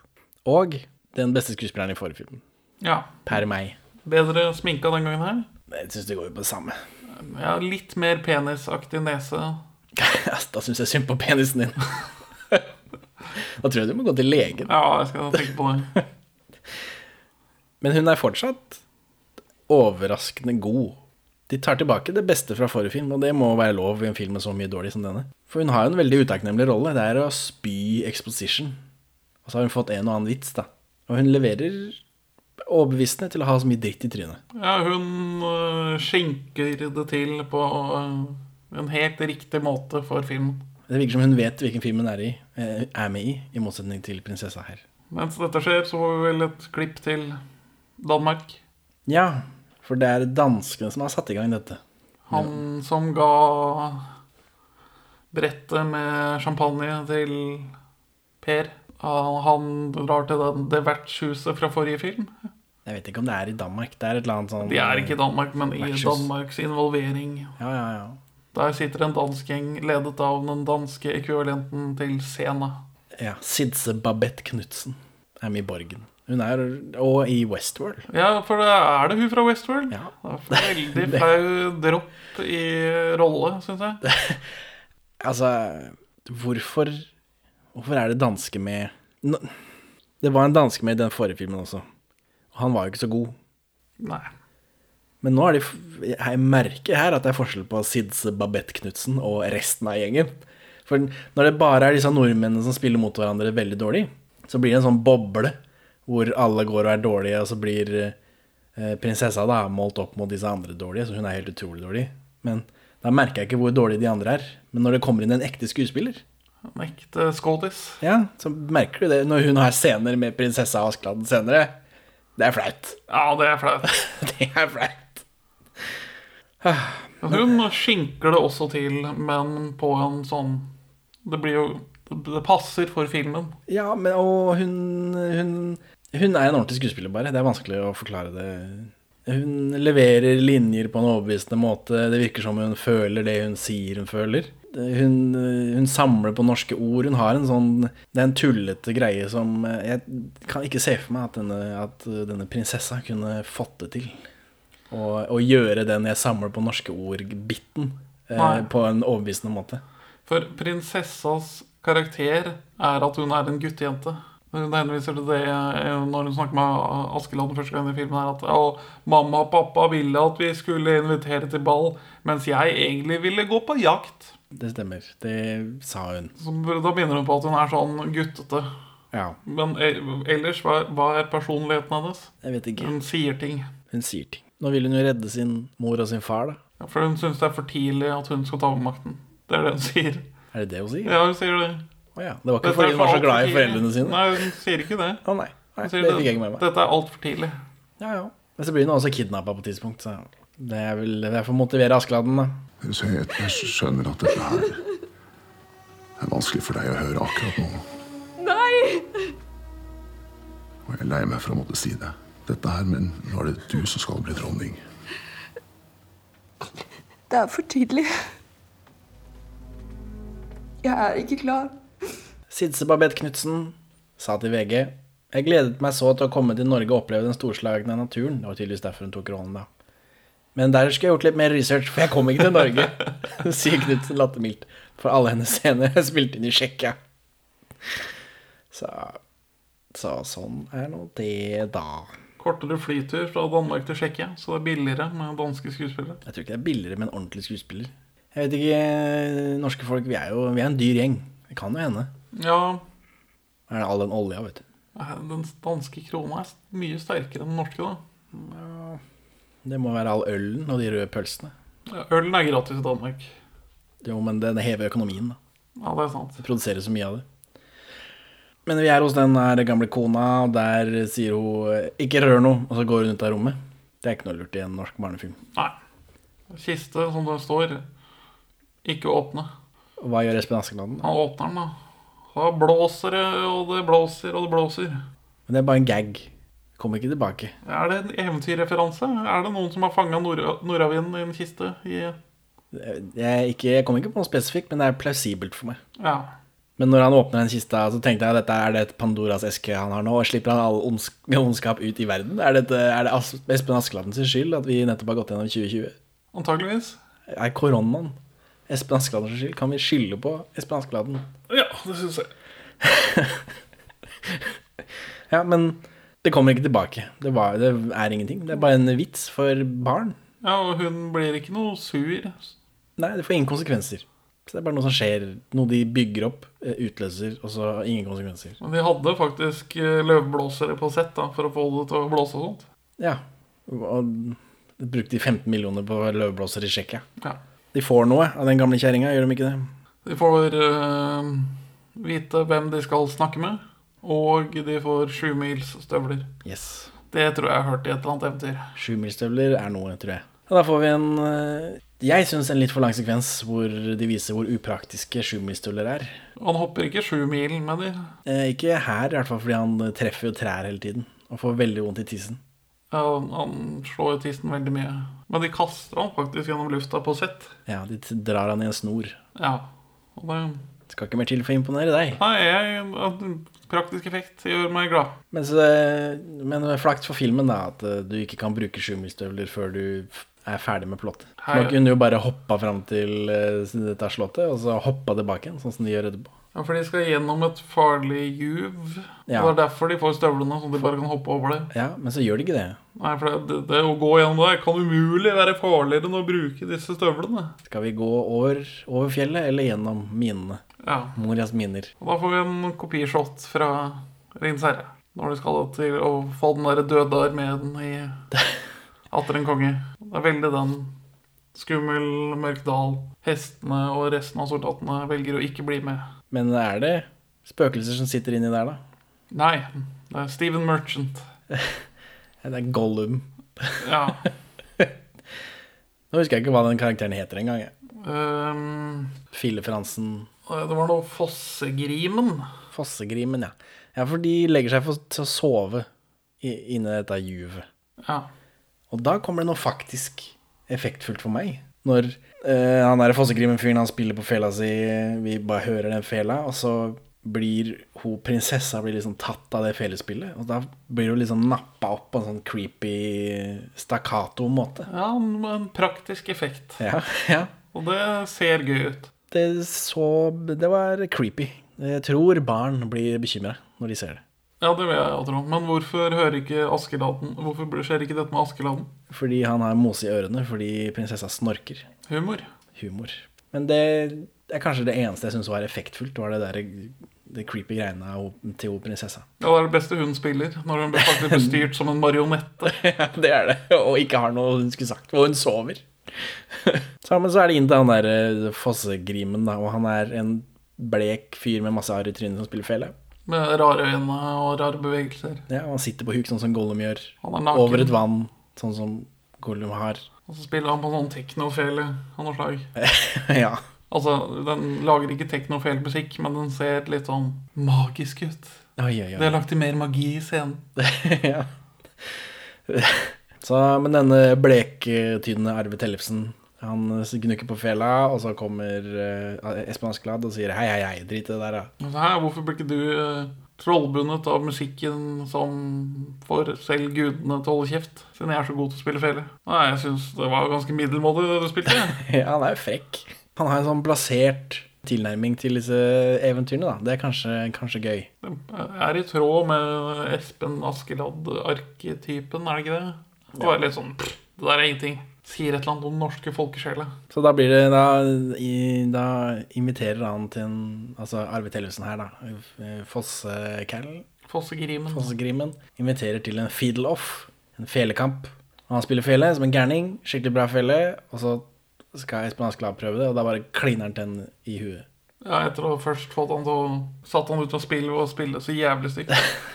Speaker 1: Og den beste skuespilleren i forrige film.
Speaker 2: Ja.
Speaker 1: Per meg.
Speaker 2: Bedre sminka den gangen her.
Speaker 1: Jeg syns det går jo på det samme. [LAUGHS]
Speaker 2: Ja, litt mer penisaktig nese.
Speaker 1: da syns jeg synd på penisen din. [LAUGHS] Da tror jeg du må gå til legen.
Speaker 2: Ja, jeg skal tenke på det.
Speaker 1: Men hun er fortsatt overraskende god. De tar tilbake det beste fra forrige film, og det må være lov i en film med så mye dårlig som denne. For hun har jo en veldig utakknemlig rolle. Det er å spy exposition. Og så har hun fått en og annen vits, da. Og hun leverer overbevisende til å ha så mye dritt i trynet.
Speaker 2: Ja, hun øh, skjenker det til på øh, en helt riktig måte for filmen.
Speaker 1: Det virker som hun vet hvilken film hun er, i, eh, er med i, i motsetning til prinsessa her.
Speaker 2: Mens dette skjer, så får vi vel et klipp til Danmark.
Speaker 1: Ja, for det er danskene som har satt i gang dette.
Speaker 2: Han som ga brettet med champagne til Per. Han han drar til den, det vertshuset fra forrige film.
Speaker 1: Jeg vet ikke om det er i Danmark. Det er et eller annet sånn
Speaker 2: De er ikke i Danmark, men i
Speaker 1: Vertshus.
Speaker 2: Danmarks involvering.
Speaker 1: Ja, ja, ja.
Speaker 2: Der sitter en dansk gjeng ledet av den danske ekvivalenten til Sena.
Speaker 1: Ja, Sidse Babette Knutsen er med i Borgen. Hun er Og i Westworld.
Speaker 2: Ja, for da er det hun fra Westworld.
Speaker 1: Ja.
Speaker 2: Det er for veldig flau dropp i rolle, syns jeg.
Speaker 1: Altså, hvorfor Hvorfor er det danske med Nå- Det var en danske med i den forrige filmen også. Og han var jo ikke så god.
Speaker 2: Nei.
Speaker 1: Men nå er de f- Jeg merker her at det er forskjell på Sidse Babette Knutsen og resten av gjengen. For når det bare er disse nordmennene som spiller mot hverandre veldig dårlig, så blir det en sånn boble hvor alle går og er dårlige, og så blir eh, prinsessa da målt opp mot disse andre dårlige, så hun er helt utrolig dårlig. Men da merker jeg ikke hvor dårlige de andre er. Men når det kommer inn en ekte skuespiller,
Speaker 2: En ekte skådis.
Speaker 1: ja, så merker du det når hun har scener med prinsessa Askeladden senere. Det er flaut. [LAUGHS]
Speaker 2: Ja, det er flaut.
Speaker 1: det er flaut.
Speaker 2: Hun skinker det også til, men på en sånn Det blir jo Det passer for filmen.
Speaker 1: Ja, men og hun, hun Hun er en ordentlig skuespiller, bare. Det er vanskelig å forklare det. Hun leverer linjer på en overbevisende måte. Det virker som hun føler det hun sier hun føler. Hun, hun samler på norske ord. Hun har en sånn Det er en tullete greie som Jeg kan ikke se for meg at denne, at denne prinsessa kunne fått det til. Å å gjøre den jeg samler på norske ord-biten eh,
Speaker 2: Nei.
Speaker 1: på en overbevisende måte.
Speaker 2: For prinsessas karakter er at hun er en guttejente. Hun henviser til det eh, når hun snakker med Askeladden første gang i filmen, er at «Å, mamma og pappa ville at vi skulle invitere til ball, mens jeg egentlig ville gå på jakt.
Speaker 1: Det stemmer. Det sa hun.
Speaker 2: Så da begynner hun på at hun er sånn guttete.
Speaker 1: Ja.
Speaker 2: Men eh, ellers, hva, hva er personligheten hennes?
Speaker 1: Jeg vet ikke.
Speaker 2: Hun sier ting.
Speaker 1: Hun sier ting. Nå vil hun jo redde sin mor og sin far, da.
Speaker 2: Ja, For hun syns det er for tidlig at hun skal ta over makten. Det er det hun sier.
Speaker 1: Er det det hun sier? Å
Speaker 2: Ja, hun sier det.
Speaker 1: ja. Det var ikke
Speaker 2: Dette
Speaker 1: fordi
Speaker 2: er
Speaker 1: hun var så
Speaker 2: alt
Speaker 1: glad i
Speaker 2: for tidlig.
Speaker 1: foreldrene sine?
Speaker 2: Nei, hun sier ikke det.
Speaker 1: Å nei. nei.
Speaker 2: Hun
Speaker 1: Det
Speaker 2: sier
Speaker 1: fikk jeg ikke med meg.
Speaker 2: Dette er altfor tidlig.
Speaker 1: Ja, ja. Men så blir hun også kidnappa på et tidspunkt, så det er vel det er for å motivere Askeladden, da.
Speaker 8: Så jeg, jeg skjønner at dette her er vanskelig for deg å høre akkurat nå. Og jeg er lei meg for å måtte si det. Dette her, men nå er det du som skal bli dronning.
Speaker 9: Det er for tidlig. Jeg er ikke klar.
Speaker 1: Sidse Babette Knutsen sa til VG Jeg gledet meg så til å komme til Norge og oppleve den storslagne naturen. Det var tydeligvis derfor hun tok rollen, da. Men der skulle jeg gjort litt mer research, for jeg kom ikke til Norge, [LAUGHS] sier Knutsen lattermildt. For alle hennes scener er spilt inn i Tsjekkia. Så, så sånn er nå det, da.
Speaker 2: Kortere flytur fra Danmark til Tsjekkia, så det er billigere med danske skuespillere.
Speaker 1: Jeg tror ikke det er billigere med en ordentlig skuespiller. Jeg vet ikke Norske folk, vi er jo vi er en dyr gjeng. Det kan jo hende.
Speaker 2: Ja,
Speaker 1: Er det all den olja, vet du.
Speaker 2: den danske krona er mye sterkere enn den norske, da.
Speaker 1: Det må være all ølen og de røde pølsene.
Speaker 2: Ja, Ølen er gratis i Danmark.
Speaker 1: Jo, men den hever økonomien, da.
Speaker 2: Ja, det er sant.
Speaker 1: Det produseres så mye av det. Men vi er hos den her gamle kona, og der sier hun 'ikke rør noe', og så går hun ut av rommet. Det er ikke noe lurt i en norsk barnefilm.
Speaker 2: Nei. Kiste som det står, ikke åpne.
Speaker 1: Og Hva gjør Espen Askeladden? da?
Speaker 2: Han åpner den, da. Da blåser det, og det blåser, og det blåser.
Speaker 1: Men det er bare en gag. Kommer ikke tilbake.
Speaker 2: Er det en eventyrreferanse? Er det noen som har fanga nordavinden i en kiste? I,
Speaker 1: Jeg, er ikke, jeg kommer ikke på noe spesifikt, men det er plausibelt for meg.
Speaker 2: ja.
Speaker 1: Men når han åpner den kista, så tenkte jeg at dette er det et Pandoras eske han har nå. og Slipper han all ondsk ondskap ut i verden? Er, dette, er det As Espen Askeladden sin skyld at vi nettopp har gått gjennom 2020?
Speaker 2: Antageligvis.
Speaker 1: Er koronaen Espen Askeladdens skyld? Kan vi skylde på Espen Askeladden?
Speaker 2: Ja, det syns jeg.
Speaker 1: Ja, men det kommer ikke tilbake. Det, var, det er ingenting. Det er bare en vits for barn.
Speaker 2: Ja, og hun blir ikke noe sur.
Speaker 1: Nei, det får ingen konsekvenser. Så det er bare noe som skjer. Noe de bygger opp, eh, utløser, og så ingen konsekvenser.
Speaker 2: Men de hadde faktisk eh, løvblåsere på sett da, for å få det til å blåse og sånt.
Speaker 1: Ja. Og brukte de 15 millioner på løvblåser i Tsjekkia.
Speaker 2: Ja.
Speaker 1: De får noe av den gamle kjerringa, gjør de ikke det?
Speaker 2: De får eh, vite hvem de skal snakke med, og de får sjumilsstøvler.
Speaker 1: Yes.
Speaker 2: Det tror jeg jeg hørte i et eller annet eventyr.
Speaker 1: Sjumilsstøvler er noe, tror jeg. Og da får vi en eh, Jeg syns en litt for lang sekvens hvor de viser hvor upraktiske sjumilsstøvler er.
Speaker 2: Han hopper ikke sju mil med de.
Speaker 1: Eh, ikke her, i hvert fall fordi han treffer jo trær hele tiden. Og får veldig vondt i tissen.
Speaker 2: Ja, han slår jo tissen veldig mye. Men de kaster han faktisk gjennom lufta på sett.
Speaker 1: Ja, de t- drar han i en snor.
Speaker 2: Ja. Og det,
Speaker 1: Skal ikke mer til for å imponere deg.
Speaker 2: nei, jeg, at praktisk effekt gjør meg glad.
Speaker 1: Men, så det, men flaks for filmen, da, at eh, du ikke kan bruke sjumilsstøvler før du f- er ferdig med plottet.
Speaker 2: Hei.
Speaker 1: Man kunne jo bare hoppa fram til eh, dette slottet, og så hoppa tilbake igjen, sånn som de gjør etterpå.
Speaker 2: Ja, For de skal gjennom et farlig juv.
Speaker 1: Ja.
Speaker 2: Og det er derfor de får støvlene, sånn at de bare kan hoppe over det.
Speaker 1: Ja, men så gjør de ikke det.
Speaker 2: Nei, for det, det, det å gå gjennom der kan umulig være farligere enn å bruke disse støvlene.
Speaker 1: Skal vi gå over, over fjellet eller gjennom minene?
Speaker 2: Ja,
Speaker 1: Morias miner.
Speaker 2: og Da får vi en kopishot fra Ringens herre. Når de skal til å få den der døde armeen i Atter en konge. Det er veldig den skummel, mørk dal. Hestene og resten av soldatene velger å ikke bli med.
Speaker 1: Men er det spøkelser som sitter inni der, da?
Speaker 2: Nei, det er Steven Merchant.
Speaker 1: Ja, Det er Gollum.
Speaker 2: Ja.
Speaker 1: Nå husker jeg ikke hva den karakteren heter engang. jeg.
Speaker 2: øhm,
Speaker 1: Fille Fransen.
Speaker 2: Ehm, det var noe Fossegrimen.
Speaker 1: Fossegrimen, ja. Ja, for de legger seg for, til å sove i- inni dette juvet.
Speaker 2: Ja.
Speaker 1: Og da kommer det noe faktisk effektfullt for meg. Når eh, han der Fossekrimen-fyren han spiller på fela si, vi bare hører den fela, og så blir hun prinsessa blir liksom tatt av det felespillet. Og da blir hun liksom nappa opp på en sånn creepy stakkato-måte.
Speaker 2: ja, en en praktisk effekt.
Speaker 1: Ja, ja.
Speaker 2: Og det ser gøy ut.
Speaker 1: Det så Det var creepy. Jeg tror barn blir bekymra når de ser det.
Speaker 2: Ja, det vil jeg jo tro. Men hvorfor hører ikke Askeladden Hvorfor blir- skjer ikke dette med Askeladden?
Speaker 1: Fordi han har mose i ørene fordi prinsessa snorker.
Speaker 2: Humor.
Speaker 1: humor. Men det er kanskje det eneste jeg syns var effektfullt, var det der det creepy greiene av ho- til ho prinsessa.
Speaker 2: Ja, det er det beste hun spiller, når hun blir faktisk blir styrt som en marionette.
Speaker 1: [LAUGHS] Ja, det er det. Og ikke har noe hun skulle sagt. Og hun sover. [LAUGHS] Sammen så er det inn til han der eh, fossegrimen, da, og han er en blek fyr med masse arr i trynet som spiller fele.
Speaker 2: Med rare øyne og rare bevegelser.
Speaker 1: Ja, og han sitter på huk, sånn som Gollum gjør.
Speaker 2: Han er naken.
Speaker 1: Over et vann, sånn som Gollum har. [LAUGHS]
Speaker 2: Og så spiller han på sånn teknofele av noe slag.
Speaker 1: ja.
Speaker 2: Altså, den lager ikke teknofele-musikk, men den ser litt sånn magisk ut.
Speaker 1: Oi, oi, oi.
Speaker 2: Det er lagt til mer magi i scenen.
Speaker 1: [LAUGHS] ja. Så, men denne blektynne Arve Tellefsen, han gnukker på fela, og så kommer eh, Espen Askeladd og sier hei, hei, hei, drit i det der, da. [LAUGHS]
Speaker 2: Og så Altså, her, hvorfor blir ikke du eh, trollbundet av musikken som får selv gudene til å holde kjeft, siden jeg er så god til å spille fele? Nei, jeg syns det var ganske middelmådig det du spilte. [LAUGHS] jeg.
Speaker 1: ja, han er jo frekk. Han har en sånn blasert tilnærming til disse eventyrene, da. Det er kanskje, kanskje gøy.
Speaker 2: Det er i tråd med Espen Askeladd-arketypen, er det ikke det? Det var litt sånn pff, Det der er ingenting. Sier et eller annet om den norske folkesjela.
Speaker 1: Så da blir det Da, i, da inviterer han til en Altså Arve Tellefsen her, da. Fossekælen.
Speaker 2: Fossegrimen.
Speaker 1: Fossegrimen inviterer til en fiddle-off, en felekamp. Og han spiller fele som en gærning, skikkelig bra fele, og så skal Espen Askeladd prøve det, og da bare kliner han til henne i huet. [LAUGHS]
Speaker 2: Ja, etter å ha først fått han til å Satt han ut av spill og spille så jævlig stygt.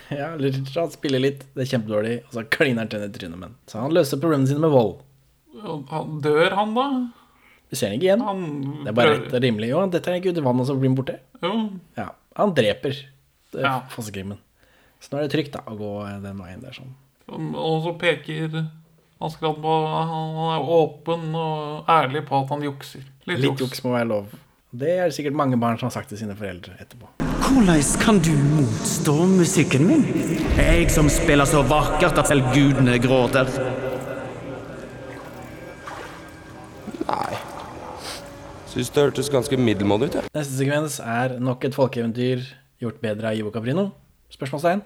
Speaker 1: Ja, eller han spiller litt, det er kjempedårlig, og så kliner han til henne i trynet med den. Så han løser problemene sine med vold.
Speaker 2: Og han- Dør han, da?
Speaker 1: Vi ser han ikke igjen.
Speaker 2: Han
Speaker 1: Det er bare
Speaker 2: prøver-
Speaker 1: rett og rimelig. Jo, han detter ikke ut i vannet, og så blir han borte.
Speaker 2: Jo.
Speaker 1: Ja, han dreper det er
Speaker 2: Ja.
Speaker 1: Fossegrimen. Så nå er det trygt, da, å gå den veien der sånn.
Speaker 2: Og så peker Askeladd på Han er åpen og ærlig på at han jukser. Litt,
Speaker 1: Litt juks må være lov. Det er det sikkert mange barn som har sagt til sine foreldre etterpå.
Speaker 10: Hvordan kan du motstå musikken min? Jeg som spiller så vakkert at selv gudene gråter.
Speaker 5: Nei. Syns det hørtes ganske middelmådig ut, jeg.
Speaker 1: Neste sekvens er nok et folkeeventyr gjort bedre av Ivo Caprino? Spørsmålstegn.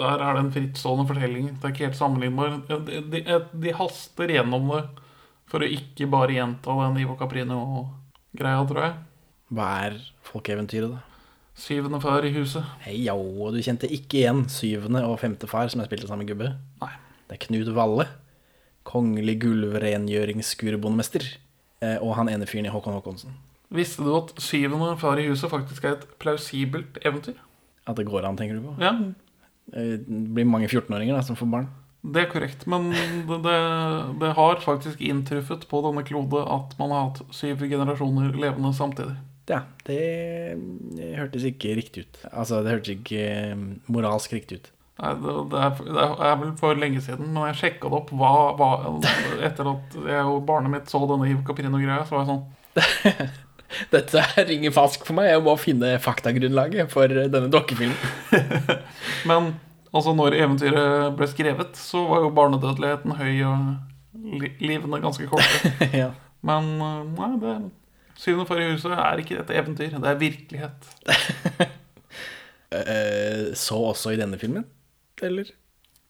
Speaker 2: Der er det en frittstående fortelling. Det er ikke helt sammenlignbar. De, de, de haster gjennom det for å ikke bare gjenta den Ivo Caprino-greia, tror jeg.
Speaker 1: Hva er folkeeventyret, da?
Speaker 2: Syvende far i huset.
Speaker 1: Hei, jo, og du kjente ikke igjen syvende og femte far, som jeg spilte sammen med Gubbe?
Speaker 2: Nei.
Speaker 1: Det er Knut Valle. Kongelig gulvrengjøringsskurbondemester. eh, Og han ene fyren i Håkon Håkonsen.
Speaker 2: Visste du at syvende far i huset faktisk er et plausibelt eventyr?
Speaker 1: At det går an, tenker du på?
Speaker 2: Ja,
Speaker 1: Eh, Det blir mange 14-åringer da, som får barn.
Speaker 2: det er korrekt. Men det, det, det har faktisk inntruffet på denne klode at man har hatt syv generasjoner levende samtidig.
Speaker 1: Ja, det eh, hørtes ikke riktig ut. Altså, det hørtes ikke eh, moralsk riktig ut.
Speaker 2: Nei, det, det, er, det er vel for lenge siden, men jeg sjekka det opp hva, hva, etter at jeg og barnet mitt så denne Ivo Caprino-greia. Så var jeg sånn
Speaker 1: Dette her ringer falsk for meg. Jeg må finne faktagrunnlaget for denne dokkefilmen.
Speaker 2: Men altså, når eventyret ble skrevet, så var jo barnedødeligheten høy og li livene ganske korte.
Speaker 1: [LAUGHS] ja.
Speaker 2: Men eh, nei, det Syvende far i huset er ikke et eventyr, det er virkelighet.
Speaker 1: Eh, Så også i denne filmen, eller?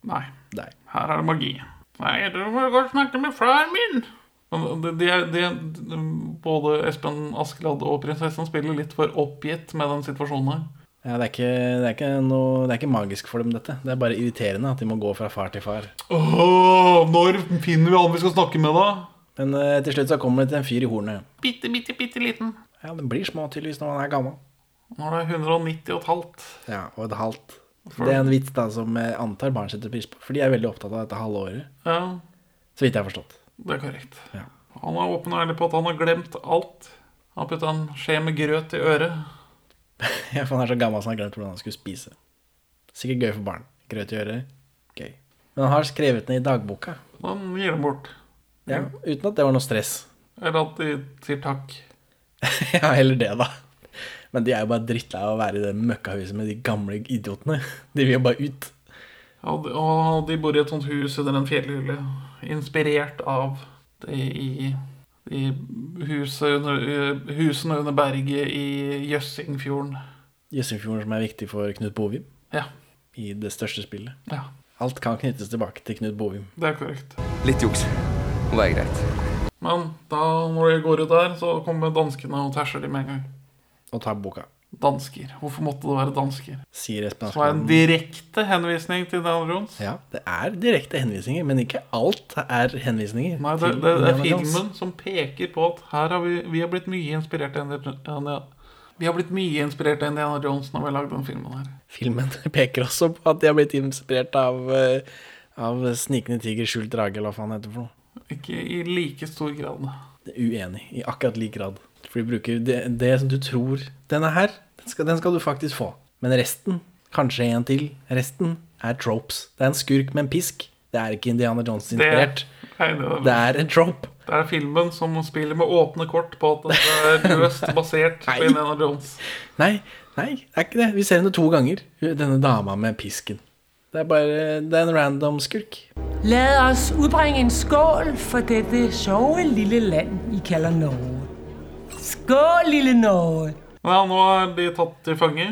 Speaker 2: Nei,
Speaker 1: Nei.
Speaker 2: her er det magi. Nei, du må gå og snakke med faren min! Men Det, det, er- det, både Espen Askeladd og prinsessen spiller litt for oppgitt med den situasjonen her.
Speaker 1: Ja, det, er ikke, det, er ikke noe, det er ikke magisk for dem, dette. Det er bare irriterende at de må gå fra far til far.
Speaker 2: Åh, når finner vi han vi skal snakke med, da?
Speaker 1: Men eh, til slutt så kommer det til en fyr i hornet.
Speaker 2: Bitte, bitte, bitte liten.
Speaker 1: Ja, den blir små tydeligvis når man er gammel.
Speaker 2: Når det er 190 og et halvt.
Speaker 1: Ja, og et halvt. Det er en vits da som jeg antar barn setter pris på, for de er veldig opptatt av dette halve året.
Speaker 2: Ja,
Speaker 1: Så vidt jeg har forstått.
Speaker 2: det er korrekt.
Speaker 1: Ja.
Speaker 2: Han er åpen og ærlig på at han har glemt alt. Han har putta en skje med grøt i øret.
Speaker 1: [LAUGHS] Ja, for han er så gammel så han har glemt hvordan han skulle spise. Sikkert gøy for barn. Grøt i øret. Gøy. Men han har skrevet ned i dagboka,
Speaker 2: Han gir dem bort.
Speaker 1: ja, uten at det var noe stress. [LAUGHS]
Speaker 2: Eller at de sier takk.
Speaker 1: ja, heller det, da. Men de er jo bare drittlei av å være i det møkkahuset med de gamle idiotene. De vil jo bare ut.
Speaker 2: Og de, og de bor i et sånt hus under en fjellhylle. Inspirert av det i, i huset under, husene under berget i Jøssingfjorden.
Speaker 1: Jøssingfjorden som er viktig for Knut Bovim
Speaker 2: Ja,
Speaker 1: i det største spillet.
Speaker 2: ja,
Speaker 1: Alt kan knyttes tilbake til Knut Bovim.
Speaker 2: det er korrekt.
Speaker 5: Litt juks. Må være greit.
Speaker 2: Men da når de går ut der, så kommer danskene og tæsjer de med en gang.
Speaker 1: Og tar boka,
Speaker 2: Dansker. Hvorfor måtte det være dansker?
Speaker 1: sier Espen
Speaker 2: Det var en
Speaker 1: Askeladd.
Speaker 2: direkte henvisning til Indiana Jones.
Speaker 1: Ja, det er direkte henvisninger, men ikke alt er henvisninger.
Speaker 2: Nei, det,
Speaker 1: til
Speaker 2: det, det er
Speaker 1: Indiana Jones.
Speaker 2: filmen som peker på at her har vi, vi har blitt mye inspirert av Indiana, Vi har blitt mye inspirert av Indiana Jones når vi har lagd den filmen her.
Speaker 1: Filmen [LAUGHS] peker også på at de har blitt inspirert av, eh, av Snikende tiger, skjult drage, eller hva faen det heter for noe.
Speaker 2: Ikke i like stor grad.
Speaker 1: uenig i akkurat lik grad. For de bruker det, det som du tror Denne her, den skal, den skal du faktisk få. Men resten, kanskje en til, resten er tropes. Det er en skurk med en pisk. Det er ikke Indiana Jones-inspirert.
Speaker 2: Nei, det,
Speaker 1: Det er en trope.
Speaker 2: det er filmen som spiller med åpne kort på at det er løst basert på
Speaker 1: Nei.
Speaker 2: Indiana Jones.
Speaker 1: Nei, nei, det er ikke det. Vi ser henne to ganger, denne dama med pisken. Det er bare Det er en random skurk.
Speaker 11: Lad os udbringe en skål for dette sjove lille land, I kalder Norge. Skål, lille Norge!
Speaker 2: Men ja, nå er de tatt til fange,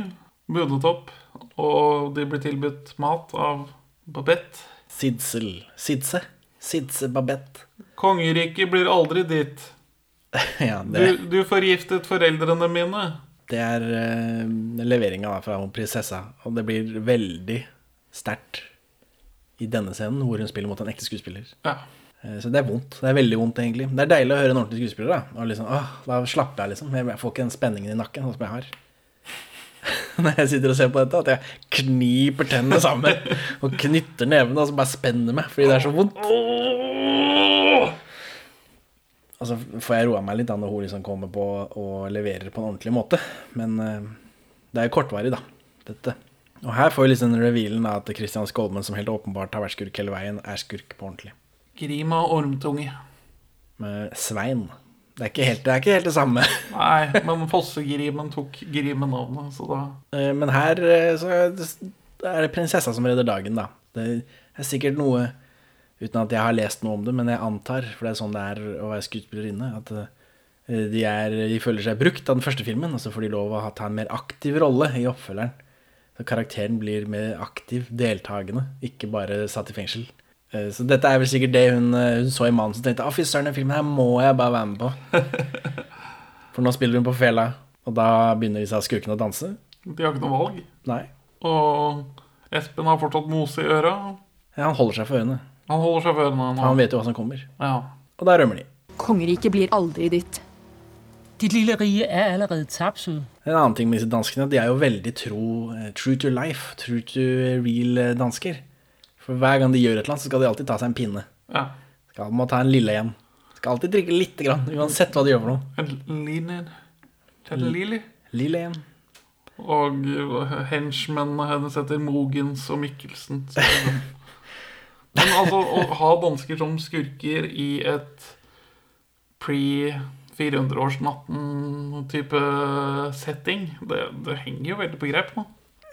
Speaker 2: bundet opp, og de blir tilbudt mat av Babette.
Speaker 1: Sidsel. Sidse. Sidse Babette.
Speaker 2: Kongeriket blir aldri ditt.
Speaker 1: [LAUGHS] Ja,
Speaker 2: Du,
Speaker 1: det,
Speaker 2: du forgiftet foreldrene mine.
Speaker 1: det er uh, leveringa da fra prinsessa, og det blir veldig sterkt i denne scenen hvor hun spiller mot en ekte skuespiller.
Speaker 2: Ja.
Speaker 1: Eh, Så det er vondt. Det er veldig vondt, egentlig. Det er deilig å høre en ordentlig skuespiller, da. Og liksom, åh, da slapper jeg, liksom. Jeg får ikke den spenningen i nakken sånn som jeg har. [LAUGHS] Når jeg sitter og ser på dette, at jeg kniper tennene sammen og knytter nevene og så bare spenner meg fordi det er så vondt. Og så Altså, får jeg roa meg litt da når hun liksom kommer på og leverer på en ordentlig måte. Men eh, det er jo kortvarig, da, dette. Og her får vi liksom revealen da, at Christian Skolmen, som helt åpenbart har vært skurk hele veien, er skurk på ordentlig
Speaker 2: Grima og ormtunge.
Speaker 1: med Svein. Det er ikke helt det, er ikke helt det samme.
Speaker 2: Nei, men Fossegrimen tok Grimen-navnet, så da
Speaker 1: Eh, Men her eh, så er det- er det prinsessa som redder dagen, da. Det er sikkert noe Uten at jeg har lest noe om det, men jeg antar, for det er sånn det er å være skuespillerinne, at eh, Eh, De, er, de føler seg brukt av den første filmen, og så får de lov å ha- ta en mer aktiv rolle i oppfølgeren. Så karakteren blir mer aktiv, deltakende, ikke bare satt i fengsel. Eh, Så dette er vel sikkert det hun, eh, hun så i manuset og tenkte «Å, fy søren, den filmen her må jeg bare være med på. For nå spiller hun på fela, og da begynner disse skurkene å danse.
Speaker 2: De har ikke noe valg.
Speaker 1: Nei.
Speaker 2: Og Espen har fortsatt mose i øra.
Speaker 1: Ja, han holder seg for ørene.
Speaker 2: Han holder seg for ørene. nå.
Speaker 1: Han vet jo hva som kommer.
Speaker 2: Ja.
Speaker 1: Og da rømmer de.
Speaker 12: Kongeriket blir aldri ditt.
Speaker 11: Dit lille rige er allerede tapt, sød.
Speaker 1: En annen ting med disse danskene, de er jo veldig tro, eh, true to life, true to real eh, dansker. For hver gang de gjør et eller annet, så skal de alltid ta seg en pinne.
Speaker 2: Ja.
Speaker 1: Skal, må ta en lille igjen. Skal alltid drikke lite grann, uansett hva de gjør for noe.
Speaker 2: En linen. En
Speaker 1: L-
Speaker 2: lili.
Speaker 1: Lille igjen.
Speaker 2: Og henchmennene hennes heter Mogens og Mikkelsen. så- sånn. Men altså, å ha dansker som skurker i et pre-400-årsnatten-type setting, det, det henger jo veldig på grep nå.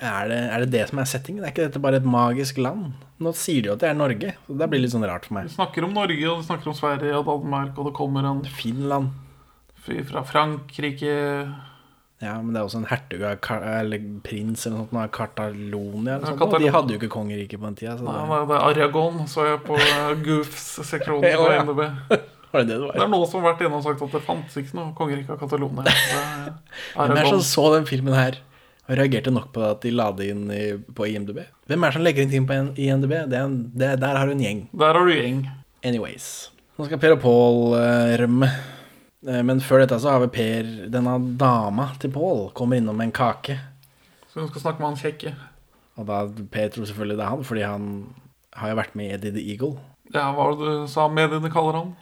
Speaker 1: Er det, er det det som er settingen? Er ikke dette bare et magisk land? Nå sier de jo at det er Norge, så det blir litt sånn rart for meg.
Speaker 2: Vi snakker om Norge, og vi snakker om Sverige og Danmark, og det kommer en
Speaker 1: Finland.
Speaker 2: fyr fra Frankrike
Speaker 1: Ja, men det er også en hertug av Ka- eller prins eller noe sånt, av Kartalonia eller
Speaker 2: Ja,
Speaker 1: sånt. og De
Speaker 2: Katalon-
Speaker 1: hadde jo ikke kongerike på den tida. Så
Speaker 2: Nei,
Speaker 1: det...
Speaker 2: nei, det er Aragon, så jeg på eh, Goofs-seksjonen
Speaker 1: [LAUGHS] Ja,
Speaker 2: på
Speaker 1: ja.
Speaker 2: NDB.
Speaker 1: Var det det det var?
Speaker 2: Det er noen som har vært inne og sagt at det fantes ikke noe kongerike av Catalonia. Det er
Speaker 1: [LAUGHS] Hvem er det
Speaker 2: Aragon.
Speaker 1: som så den filmen her og reagerte nok på at de la det inn i, på IMDb? Hvem er det som legger inn ting på en- IMDb? Det er en, det, der har du en gjeng.
Speaker 2: Der har du gjeng.
Speaker 1: Anyways. Nå skal Per og Pål eh, rømme. Eh, Men før dette så har vi Per, denne dama til Pål, kommer innom med en kake.
Speaker 2: Så hun skal snakke med han kjekke.
Speaker 1: Og da Per tror selvfølgelig det er han, fordi han har jo vært med i Eddie the Eagle.
Speaker 2: Ja, hva var det du sa mediene kaller han?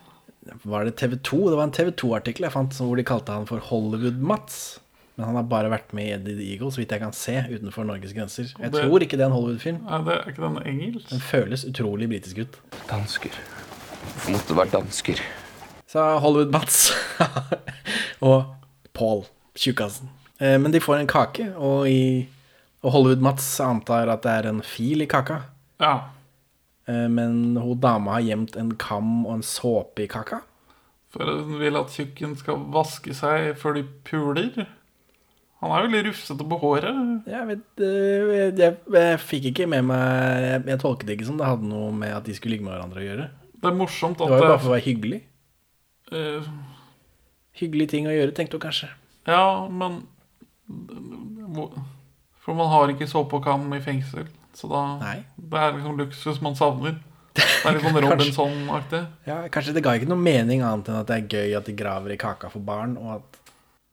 Speaker 1: Var det TV2? Det var en TV2-artikkel jeg fant hvor de kalte han for Hollywood-Mats. Men han har bare vært med i Eddie the Eagle, så vidt jeg kan se, utenfor Norges grenser. Jeg
Speaker 2: det-
Speaker 1: tror ikke det er en Hollywood-film.
Speaker 2: Nei, det er ikke den engelsk.
Speaker 1: Den føles utrolig britisk ut.
Speaker 5: Dansker. Hvorfor måtte det være dansker?
Speaker 1: Sa Hollywood-Mats [LAUGHS] og Paul, tjukkasen. Eh, Men de får en kake, og, i- og Hollywood-Mats antar at det er en fil i kaka.
Speaker 2: Ja.
Speaker 1: Eh, Men hun dama har gjemt en kam og en såpe i kaka.
Speaker 2: For hun vil at tjukken skal vaske seg før de puler. Han er jo litt rufsete på håret.
Speaker 1: Jeg vet eh, jeg, jeg fikk ikke med meg jeg, jeg tolket det ikke som det hadde noe med at de skulle ligge med hverandre å gjøre.
Speaker 2: Det er morsomt
Speaker 1: Det
Speaker 2: at
Speaker 1: var jo
Speaker 2: det-
Speaker 1: bare for å være hyggelig.
Speaker 2: Eh,
Speaker 1: Hyggelig ting å gjøre, tenkte hun kanskje.
Speaker 2: Ja, men hvor- For man har ikke såpe og kam i fengsel. Så da Det er liksom luksus
Speaker 1: [LAUGHS]
Speaker 2: man savner. Det er litt sånn
Speaker 1: Kanskje.
Speaker 2: Robinson-aktig.
Speaker 1: Ja, Kanskje det ga ikke noe mening annet enn at det er gøy at de graver i kaka for barn, og at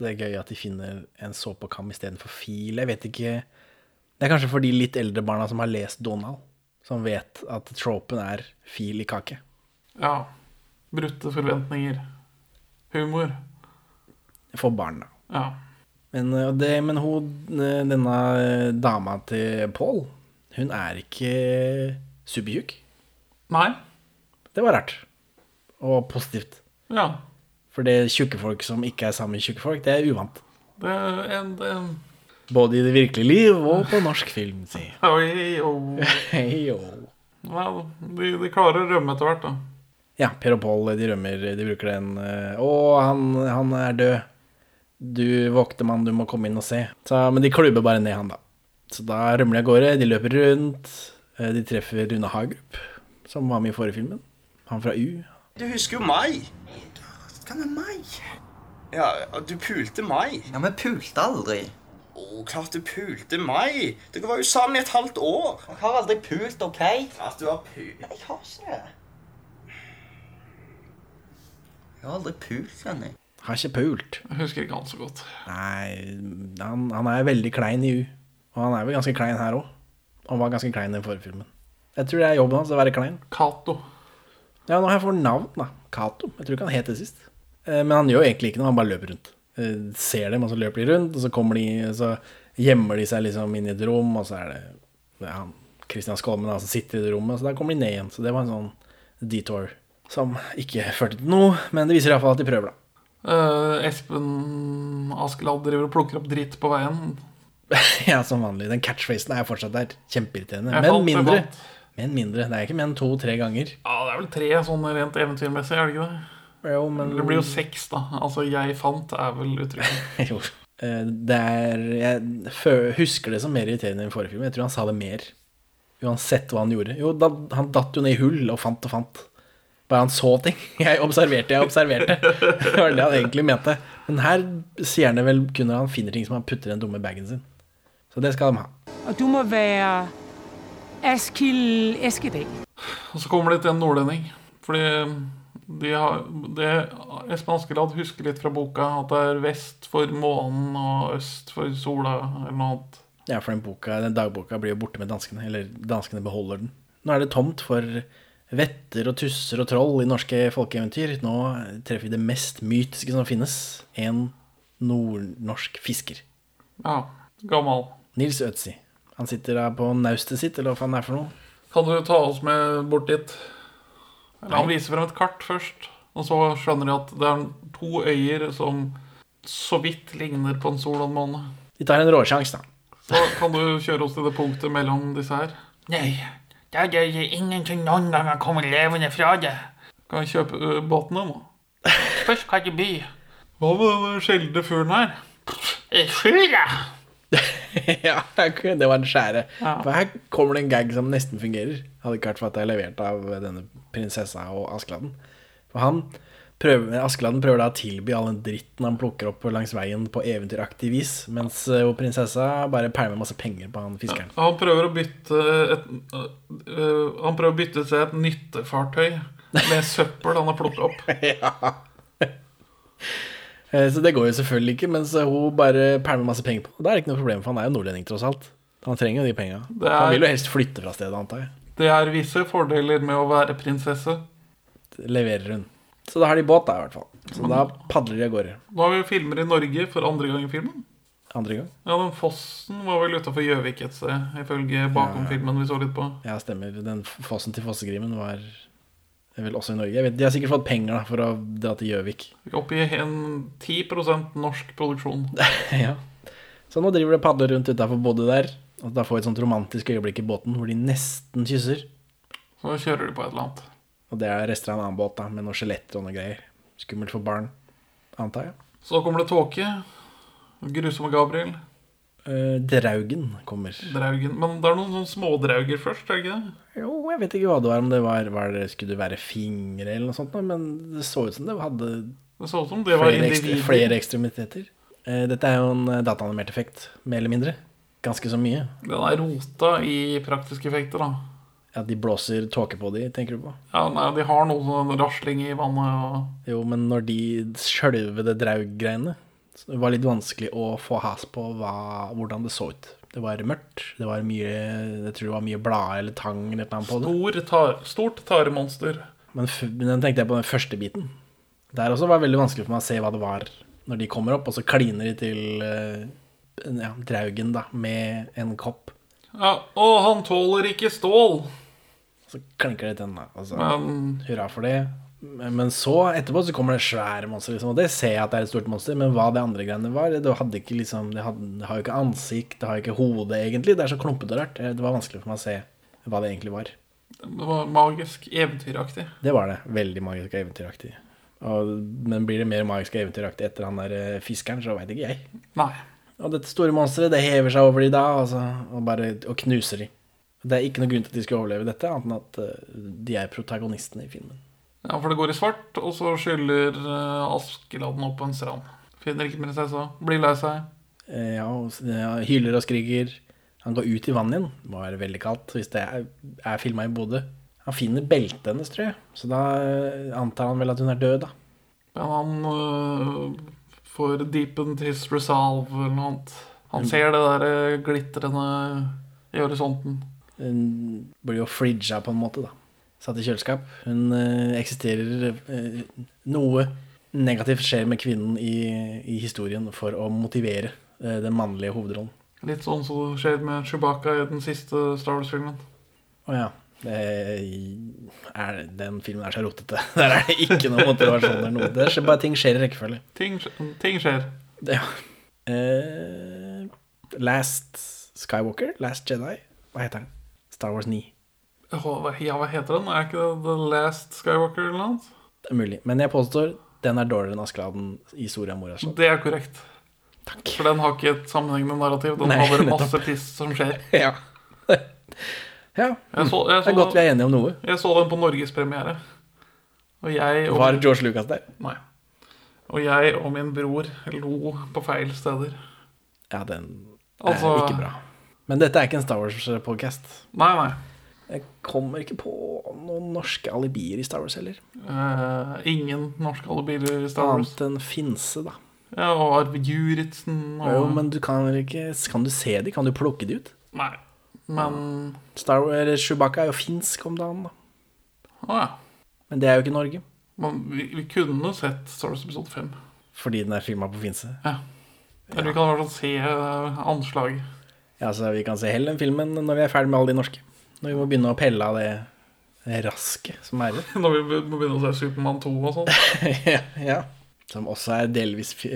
Speaker 1: det er gøy at de finner en såpe og kam istedenfor fil. Jeg vet ikke Det er kanskje for de litt eldre barna som har lest Donald, som vet at tropen er fil i kake.
Speaker 2: Ja. Brutte forventninger. Humor.
Speaker 1: For barn, da.
Speaker 2: Ja.
Speaker 1: Men, eh, og det, men hun, eh, denne eh, dama til Paul, hun er ikke supertjukk.
Speaker 2: Nei.
Speaker 1: Det var rart. Og positivt.
Speaker 2: Ja.
Speaker 1: For det tjukke folk som ikke er sammen med tjukke folk, det er uvant.
Speaker 2: Det er en, en
Speaker 1: Både i det virkelige liv og på norsk film, si.
Speaker 2: Oi, oh.
Speaker 1: Hei, oh.
Speaker 2: ja, de, de klarer å rømme etter hvert, da.
Speaker 1: Ja, Per og Pål, de rømmer, de bruker den eh, Å, han, han er død. Du våkte mann, du må komme inn og se. Så, men de klubber bare ned han, da. Så da rømmer de av gårde, de løper rundt. eh, De treffer Rune Hagerup, som var med i forrige filmen. Han fra U.
Speaker 13: Du husker jo meg. Hva med meg? Ja, du pulte meg. Ja, men pulte aldri. Å, klart du pulte meg. Dere var jo sammen i et halvt år. Jeg har aldri pult, OK? Klart du har pult. Nei, jeg har ikke det. Jeg har aldri pult henne.
Speaker 1: Har ikke pult.
Speaker 2: Jeg husker ikke han så godt.
Speaker 1: Nei, han, han er veldig klein i U. Og han er vel ganske klein her òg. Han var ganske klein i den forrige filmen. Jeg tror det er jobben hans å være klein.
Speaker 2: Cato.
Speaker 1: Ja, nå har jeg fått navn, da. Cato. Jeg tror ikke han het det sist. Eh, Men han gjør egentlig ikke noe, han bare løper rundt. Eh, Ser dem, og så løper de rundt, og så kommer de Så gjemmer de seg liksom inn i et rom, og så er det det er han Christian Skolmen da, som sitter i det rommet, så der kommer de ned igjen. Så det var en sånn detour som ikke førte til noe, men det viser iallfall at de prøver, da. [LAUGHS]
Speaker 2: Eh, Espen Askeladd driver og plukker opp dritt på veien.
Speaker 1: Ja, som vanlig. Den catchphrasen er fortsatt der. Kjempeirriterende.
Speaker 2: Jeg
Speaker 1: Men
Speaker 2: falt, jeg
Speaker 1: mindre.
Speaker 2: falt.
Speaker 1: Men mindre. Det er ikke mer enn to-tre ganger.
Speaker 2: Ja, Det er vel tre sånn rent eventyrmessig, er det ikke det?
Speaker 1: Jo, men
Speaker 2: Det blir jo sex, da. Altså 'jeg fant' er vel uttrykket.
Speaker 1: [LAUGHS] Jo. Eh, Det er Jeg fø- husker det som mer irriterende enn i forrige film. Jeg tror han sa det mer. Uansett hva han gjorde. Jo, da, han datt jo ned i hull og fant og fant. Bare han så ting. [LAUGHS] Jeg observerte, jeg observerte. Det var det han egentlig mente. Men her sier han det vel kun når han finner ting som han putter i den dumme bagen sin. Så det skal de ha.
Speaker 11: Og du må være Askild Eskedal.
Speaker 2: Og så kommer det til en nordlending. Fordi de har, det, Espen Askeladd husker litt fra boka at det er vest for månen og øst for sola eller noe annet.
Speaker 1: Ja, for den, boka, den dagboka blir jo borte med danskene, eller danskene beholder den. Nå er det tomt for vetter og tusser og troll i norske folkeeventyr. Nå treffer vi det mest mytiske som finnes, en nordnorsk fisker.
Speaker 2: Ja, gammal.
Speaker 1: Nils Ødsi. Han sitter da på naustet sitt, eller hva faen det er for noe.
Speaker 2: Kan du ta oss med bort dit? Eller, han viser frem et kart først, og så skjønner de at det er to øyer som så vidt ligner på en sol og en måne.
Speaker 1: De tar en råsjans, da.
Speaker 2: Så kan du kjøre oss til det punktet mellom disse her. Nei, det gjør jeg ingenting noen gang jeg kommer levende fra det. Kan jeg kjøpe ø, båtene nå? Først kan du by. Hva med den sjeldne fuglen her? Skjula!
Speaker 1: [LAUGHS] ja, det var den skjære. For her kommer det en gag som nesten fungerer. Hadde ikke vært for at det er levert av denne prinsessa og Askeladden. For han prøver, Askeladden prøver da å tilby all den dritten han plukker opp langs veien på eventyraktig vis, mens eh, jo prinsessa bare pælmer masse penger på han fiskeren.
Speaker 2: Han prøver å bytte et, ø, ø, Han prøver å bytte seg et nyttefartøy med søppel han har plukket opp.
Speaker 1: Eh, Så det går jo selvfølgelig ikke, mens hun bare pælmer masse penger på. Og da er det ikke noe problem, for han er jo nordlending, tross alt. Han trenger jo de penga.
Speaker 2: Det er-
Speaker 1: Han vil jo helst flytte fra stedet, antar jeg.
Speaker 2: Det er visse fordeler med å være prinsesse.
Speaker 1: Leverer hun. Så da har de båt, da, i hvert fall.
Speaker 2: Mm.
Speaker 1: Så da padler de av gårde.
Speaker 2: Nå har vi filmer i Norge for andre gang i filmen.
Speaker 1: Andre gang.
Speaker 2: Ja, den fossen var vel utafor Gjøvik et sted, ifølge bakom
Speaker 1: Ja.
Speaker 2: filmen vi så litt på.
Speaker 1: Ja, stemmer. Den fossen til Fossegrimen var vel også i Norge. Jeg vet, De har sikkert fått penger da, for å dra til Gjøvik.
Speaker 2: Oppi en 10 norsk produksjon.
Speaker 1: ja. Så nå driver de og padler rundt utafor både der, og da får vi et sånt romantisk øyeblikk i båten hvor de nesten kysser.
Speaker 2: Så kjører de på et eller annet.
Speaker 1: Og det er rester av en annen båt da, med noen skjeletter og noe greier. Skummelt for barn, antar jeg.
Speaker 2: Så kommer det tåke. Grusomme Gabriel.
Speaker 1: Eh, Draugen kommer.
Speaker 2: Draugen. Men det er noen sånne smådrauger først, er det ikke det?
Speaker 1: Jo, jeg vet ikke hva det var, om det var, var det, skulle det være fingre eller noe sånt, nå, men det så ut som det hadde
Speaker 2: Det så ut som det var
Speaker 1: flere, ekstre,
Speaker 2: individer.
Speaker 1: flere ekstremiteter. Eh, Dette er jo en eh, dataanimert effekt, mer eller mindre. Ganske så mye.
Speaker 2: Den er rota i praktiske effekter, da.
Speaker 1: At de blåser tåke på de, tenker du på?
Speaker 2: Ja, nei, De har noe sånn rasling i vannet og
Speaker 1: Jo, men når de sjølvede drauggreiene så Det var litt vanskelig å få has på hva, hvordan det så ut. Det var mørkt. Det var mye Jeg tror det var mye blader eller tang eller noe på det.
Speaker 2: Stor tar, stort taremonster.
Speaker 1: Men f men den tenkte jeg på den første biten. Der også var det veldig vanskelig for meg å se hva det var når de kommer opp, og så kliner de til eh, ja, draugen da, med en kopp.
Speaker 2: Ja, Å, han tåler ikke stål!
Speaker 1: Så klinker det til den, da. Og så
Speaker 2: Men-
Speaker 1: hurra for det. Men men så etterpå så kommer det svære monster, liksom, og det ser jeg at det er et stort monster, men hva det andre greiene var Det, hadde ikke, liksom, det, hadde, det har jo ikke ansikt, det har jo ikke hode, egentlig. Det er så klumpete og rart. Eh, Det var vanskelig for meg å se hva det egentlig var.
Speaker 2: Det var magisk, eventyraktig.
Speaker 1: Det var det. Veldig magisk og eventyraktig. Og, men blir det mer magisk og eventyraktig etter han der eh, fiskeren, så veit ikke jeg.
Speaker 2: Nei.
Speaker 1: Og dette store monsteret, det hever seg over de da, altså, og bare og knuser de. Det er ikke noen grunn til at de skulle overleve dette, annet enn at eh, de er protagonistene i filmen.
Speaker 2: Ja, For det går i svart, og så skyller eh, Askeladden opp på en strand. Finner ikke prinsessa, blir lei seg.
Speaker 1: Eh, Ja, og s- ja, hyler og skriker. Han går ut i vannet igjen. Det må være veldig kaldt hvis det er, er filma i Bodø. Han finner beltet hennes, tror jeg. Så da eh, antar han vel at hun er død, da.
Speaker 2: Men han øh, får deepened his resolve eller noe annet. Han ser det der øh, glitrende i horisonten.
Speaker 1: Hun blir jo fridga på en måte, da. Satt i kjøleskap. Hun eh, eksisterer eh, Noe negativt skjer med kvinnen i, i historien for å motivere eh, den mannlige hovedrollen.
Speaker 2: Litt sånn som det skjer med Chewbacca i den siste Star Wars-filmen.
Speaker 1: Å ja. Det er, den filmen er så rotete. [LAUGHS] Der er det ikke noe motivasjon eller noe. Det er bare ting skjer i rekkefølge.
Speaker 2: Ting, skj- ting skjer.
Speaker 1: Det, ja. Eh, Last Skywalker? Last Jedi? Hva heter den? Star Wars 9.
Speaker 2: Åh, hva- Ja, hva heter den? Er ikke det The Last Skywalker eller noe? annet?
Speaker 1: Det er mulig. Men jeg påstår den er dårligere enn Askeladden i Soria Moria.
Speaker 2: [LAUGHS] Det er korrekt. For den har ikke et sammenhengende narrativ. Den
Speaker 1: Nei,
Speaker 2: har
Speaker 1: [LAUGHS]
Speaker 2: bare
Speaker 1: nettopp.
Speaker 2: masse piss som skjer.
Speaker 1: Ja. [LAUGHS] Ja. Det er godt vi er enige om noe.
Speaker 2: Jeg så den på norgespremiere. Og jeg og,
Speaker 1: Var George Lucas der?
Speaker 2: Nei. og jeg og min bror lo på feil steder.
Speaker 1: Ja, den er
Speaker 2: Altså-
Speaker 1: ikke bra. Men dette er ikke en Star Wars-podcast.
Speaker 2: Nei, nei.
Speaker 1: Jeg kommer ikke på noen norske alibier i Star Wars heller.
Speaker 2: Eh, ingen norske alibier i Star Wars.
Speaker 1: Annet enn Finse, da.
Speaker 2: Ja, og Arve Juritzen og
Speaker 1: Jo, men du kan vel ikke Kan du se de? Kan du plukke de ut?
Speaker 2: Nei. Men
Speaker 1: Star Wars, eller Chewbacca er jo finsk om dagen, da.
Speaker 2: Å ja.
Speaker 1: Men det er jo ikke Norge.
Speaker 2: Man, vi, vi kunne sett Star Wars episode 5.
Speaker 1: Fordi den er filma på finse.
Speaker 2: Ja. Eller vi kan i hvert fall se eh, anslaget.
Speaker 1: Ja, så Vi kan se hele den filmen når vi er ferdig med alle de norske. Når vi må begynne å pelle av det, det rasket som er i det.
Speaker 2: [LAUGHS] Når vi be- må begynne å se Supermann 2 og sånn.
Speaker 1: [LAUGHS] ja, ja. Som også er delvis fi-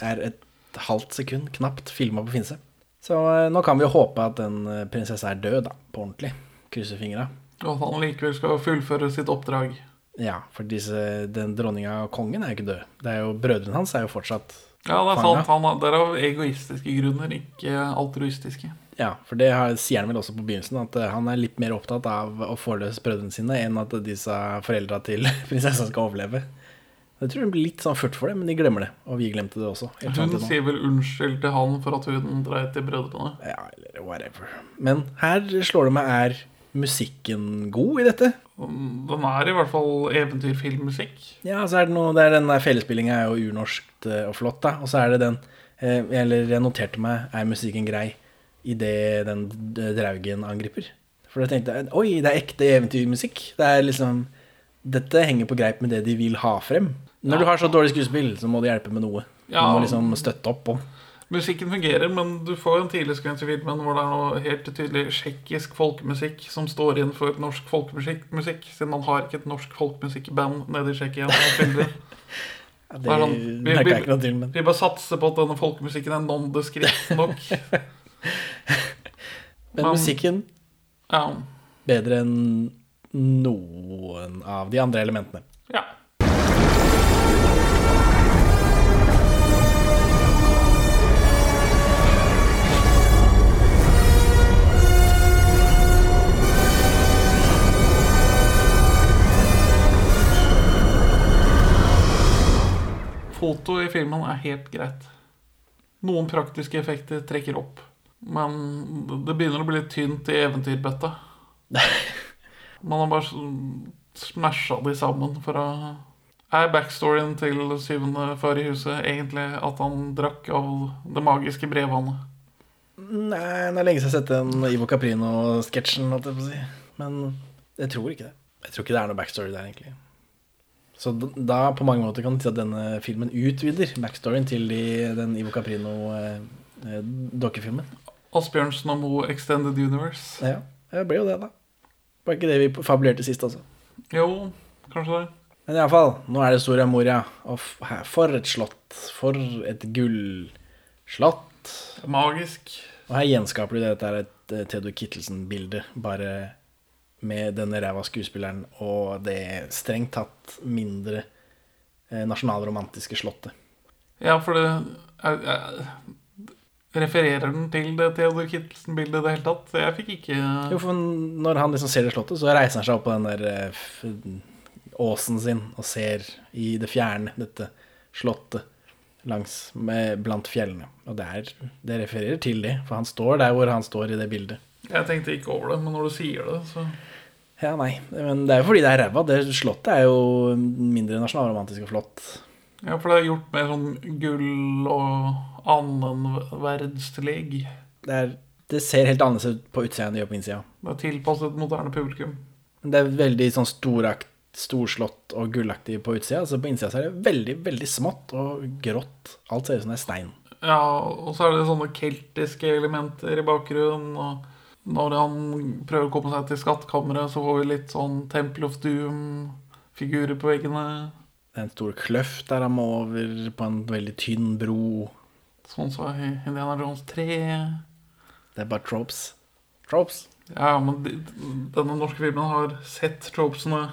Speaker 1: er et halvt sekund knapt filma på Finse. Så eh, nå kan vi jo håpe at den eh, prinsessa er død, da. På ordentlig. Krysser fingra.
Speaker 2: Og at han likevel skal fullføre sitt oppdrag.
Speaker 1: Ja, for disse, den dronninga og kongen er jo ikke død. Det er jo Brødrene hans er jo fortsatt
Speaker 2: Ja, det er
Speaker 1: fanget.
Speaker 2: sant. Han er, det er av egoistiske grunner, ikke altruistiske.
Speaker 1: Ja, for det har, sier han vel også på begynnelsen, at eh, han er litt mer opptatt av å forløse brødrene sine enn at disse foreldra til [LAUGHS] prinsessa skal overleve. Jeg tror hun blir litt sånn furt for det, men de glemmer det. Og vi glemte det også. helt fram
Speaker 2: Hun
Speaker 1: til nå.
Speaker 2: sier vel unnskyld til han for at hun dreit i brødrene.
Speaker 1: Ja, eller whatever. Men her slår det meg er musikken god i dette?
Speaker 2: Den er i hvert fall eventyrfilmmusikk.
Speaker 1: Ja, så er det noe det er Den der fellesspillinga er jo urnorskt eh, og flott, da. Og så er det den eh, Eller jeg noterte meg er musikken grei idet den d- draugen angriper. For da tenkte jeg oi, det er ekte eventyrmusikk. Det er liksom Dette henger på greip med det de vil ha frem. Når du har så dårlig skuespill, så må det hjelpe med noe. Du
Speaker 2: Ja.
Speaker 1: må liksom støtte opp om.
Speaker 2: Musikken fungerer, men du får en tidlig sekvens i filmen hvor det er noe helt tydelig tsjekkisk folkemusikk som står inn for norsk folkemusikk, musikk, siden man har ikke et norsk folkemusikkband nede i Tsjekkia.
Speaker 1: [LAUGHS]
Speaker 2: som spiller.
Speaker 1: Ja,
Speaker 2: Det er sånn,
Speaker 1: det
Speaker 2: vi,
Speaker 1: merker jeg ikke noe
Speaker 2: vi,
Speaker 1: til, men
Speaker 2: vi bare satser på at denne folkemusikken er nondeskript nok.
Speaker 1: [LAUGHS] Men musikken
Speaker 2: ja.
Speaker 1: bedre enn noen av de andre elementene.
Speaker 2: Ja. Foto i filmen er helt greit. Noen praktiske effekter trekker opp. Men det begynner å bli litt tynt i eventyrbøtta. Man har bare sånn smasha de sammen for å Er backstoryen til syvende far i huset egentlig at han drakk av det magiske brevvannet?
Speaker 1: Nei, det er lenge siden jeg har sett den Ivo Caprino-sketsjen, holdt jeg på å si. Men jeg tror ikke det. Jeg tror ikke det er noe backstory der, egentlig. Så d- da på mange måter kan du si at denne filmen utvider backstoryen til de, den Ivo eh, Caprino-dokkefilmen.
Speaker 2: Asbjørnsen og Moe Extended Universe.
Speaker 1: Ja, det ble jo det, da. Var ikke det vi fabulerte sist, altså.
Speaker 2: Jo, kanskje det.
Speaker 1: Men iallfall, nå er det Soria Moria. Og f- her- for et slott. For et gullslott.
Speaker 2: Magisk.
Speaker 1: Og her gjenskaper du det at det er et eh, Theodor Kittelsen-bilde, bare med denne ræva skuespilleren og det strengt tatt mindre eh, nasjonalromantiske slottet.
Speaker 2: Ja, for det jeg, jeg, Refererer den til det Theodor Kittelsen-bildet i det hele tatt? Jeg fikk ikke
Speaker 1: Jo, for når han liksom ser det slottet, så reiser han seg opp på den der eh, f- åsen sin og ser i det fjerne dette slottet langs med, blant fjellene. Og det, er, det refererer til det, for han står der hvor han står i det bildet.
Speaker 2: Jeg tenkte ikke over det, men når du sier det, så
Speaker 1: Ja, nei, men det er jo fordi det er ræva. Det slottet er jo mindre nasjonalromantisk og flott.
Speaker 2: Ja, for det er gjort med sånn gull og annenverdstillegg.
Speaker 1: Det, er, det ser helt annerledes ut på utsida enn det gjør på innsida.
Speaker 2: Det er tilpasset moderne publikum.
Speaker 1: Men det er veldig sånn storakt, storslått og gullaktig på utsida. Så på innsida så er det veldig, veldig smått og grått. Alt ser ut som det er stein.
Speaker 2: Ja, og så er det sånne keltiske elementer i bakgrunnen. Og når han prøver å komme seg til skattkammeret, så får vi litt sånn Temple of Doom-figurer på veggene.
Speaker 1: Det er en stor kløft der han må over på en veldig tynn bro.
Speaker 2: Sånn som i Indiana Jones 3.
Speaker 1: Det er bare tropes. Tropes.
Speaker 2: Ja, men de- denne norske filmen har sett tropesene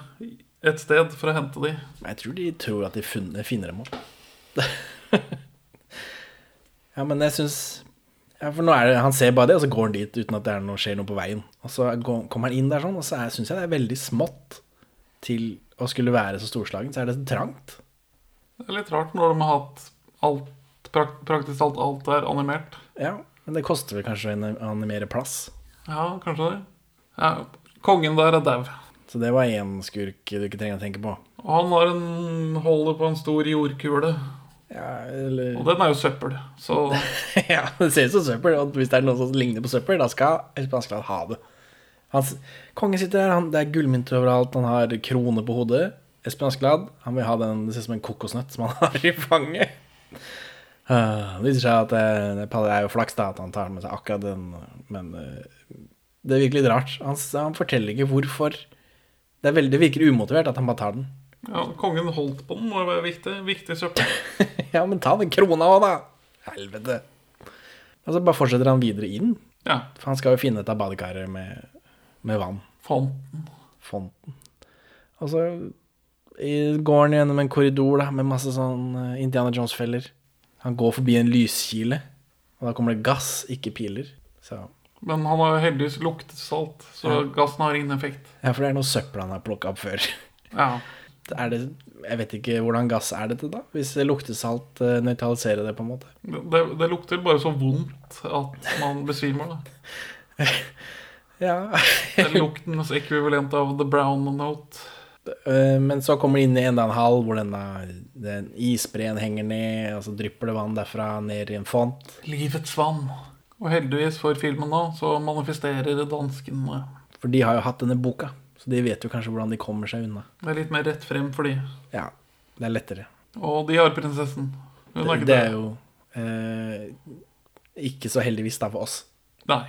Speaker 2: et sted for å hente de.
Speaker 1: Jeg tror de tror at de funne- finner dem opp. [LAUGHS] ja, men jeg syns ja, For nå er det, han ser bare det, og så går han dit uten at det er noe, skjer noe på veien. Og så går- kommer han inn der sånn, og så syns jeg det er veldig smått til å skulle være så storslagen. Så er det så trangt.
Speaker 2: Det er litt rart når de har hatt alt, prak praktisk talt alt er animert.
Speaker 1: Ja, Men det koster vel kanskje å anim- animere plass.
Speaker 2: Ja, kanskje det. Ja, kongen der er dau.
Speaker 1: Så det var én skurk du ikke trenger å tenke på.
Speaker 2: Og han har en, holder på en stor jordkule.
Speaker 1: eller-
Speaker 2: Og den er jo søppel, så
Speaker 1: [LAUGHS] ja, det ser ut som søppel. Og hvis det er noen som ligner på søppel, da skal Espen Askeladd ha det. Han, s- kongen sitter der, han, det er gullmynter overalt, han har krone på hodet. Espen Askeladd han vil ha den, det ser ut som en kokosnøtt som han [LAUGHS] har i fanget. Ah, Det viser seg at eh, det, det er jo flaks da, at han tar med seg akkurat den, men eh, det virker litt rart. Han, s- han forteller ikke hvorfor. Det, er veldig, det virker umotivert at han bare tar den. [LAUGHS]
Speaker 2: ja, kongen holdt på den, må jo være viktig. Viktig søppel.
Speaker 1: Ja, men ta den krona òg, da! Helvete. Og så bare fortsetter han videre inn.
Speaker 2: Ja.
Speaker 1: For han skal jo finne et av badekaret med, med vann.
Speaker 2: Fonten.
Speaker 1: Fonten. Og så i- går han gjennom en korridor da, med masse sånn eh, Indiana Jones-feller. Han går forbi en lyskile, og da kommer det gass, ikke piler. Så,
Speaker 2: Men han har jo heldigvis luktesalt, så
Speaker 1: Ja.
Speaker 2: gassen har ingen effekt.
Speaker 1: ja, for det er noe søppel han har plukka opp før. [LAUGHS]
Speaker 2: Ja.
Speaker 1: Er det, jeg vet ikke hvordan gass er dette, da? Hvis luktesalt eh, nøytraliserer det, på en måte.
Speaker 2: Det, det lukter bare så vondt at man besvimer, da.
Speaker 1: Ja. [LAUGHS]
Speaker 2: Det er luktens ekvivalent av the brown note.
Speaker 1: Eh, Men så kommer de inn i enda en hall hvor denne den isbreen henger ned, og så drypper det vann derfra ned i en font.
Speaker 2: Livets vann. Og heldigvis for filmen nå, så manifesterer danskene.
Speaker 1: For de har jo hatt denne boka, så de vet jo kanskje hvordan de kommer seg unna.
Speaker 2: Det er litt mer rett frem for de.
Speaker 1: Ja, det er lettere.
Speaker 2: Og de har prinsessen. Hun
Speaker 1: Det,
Speaker 2: er ikke
Speaker 1: det
Speaker 2: det.
Speaker 1: er jo eh, ikke så heldigvis da for oss.
Speaker 2: Nei.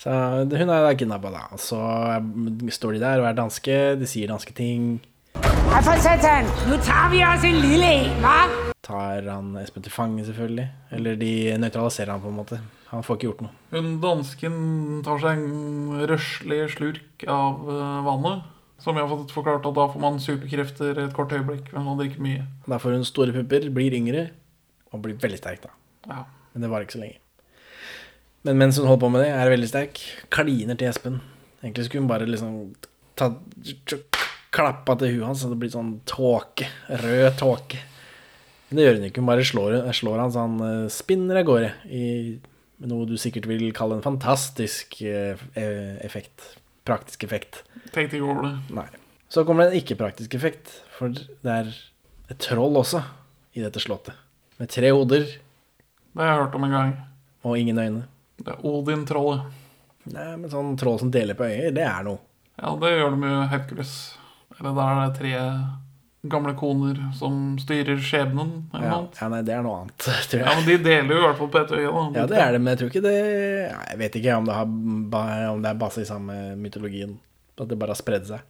Speaker 1: Så det- hun er kidnappa, da. Og Så er- står de der og er danske, de sier danske ting.
Speaker 11: Hei for satan! Nå tar vi oss en lille en, hva?
Speaker 1: Tar han Espen til fange, selvfølgelig. Eller de nøytraliserer han på en måte. Han får ikke gjort noe.
Speaker 2: Hun dansken tar seg en røslig slurk av eh, vannet. Som jeg har fått forklart at da får man superkrefter et kort øyeblikk. Men man drikker mye.
Speaker 1: Da får hun store pupper, blir yngre og blir veldig sterk, da.
Speaker 2: Ja.
Speaker 1: Men det varer ikke så lenge. Men mens hun holder på med det, er veldig sterk, kliner til Espen. Egentlig skulle hun bare liksom ta, klappa til huet hans, så det blir sånn tåke. Rød tåke. Men det gjør hun ikke. Hun bare slår, slår han så han eh, spinner av gårde i noe du sikkert vil kalle en fantastisk eh, eh, effekt. Praktisk effekt.
Speaker 2: Tenkte ikke over det.
Speaker 1: Nei. Så kommer det en ikke-praktisk effekt, for det er et troll også i dette slottet. Med tre hoder
Speaker 2: Det har jeg hørt om en gang.
Speaker 1: og ingen øyne.
Speaker 2: Det er Odin-trollet.
Speaker 1: Nei, men sånn troll som deler på øyer, det er noe.
Speaker 2: Ja, det gjør de jo i Hercules. Eller der er det tre gamle koner som styrer skjebnen. Eller
Speaker 1: Ja,
Speaker 2: noe.
Speaker 1: ja nei, det er noe annet, [LAUGHS] tror
Speaker 2: Ja,
Speaker 1: jeg.
Speaker 2: men de deler jo i hvert fall på ett øye. Da.
Speaker 1: Ja, det er det, men jeg tror ikke det Nei, Jeg vet ikke om det, har, ba- om det er base i samme mytologien. At det bare har spredd seg.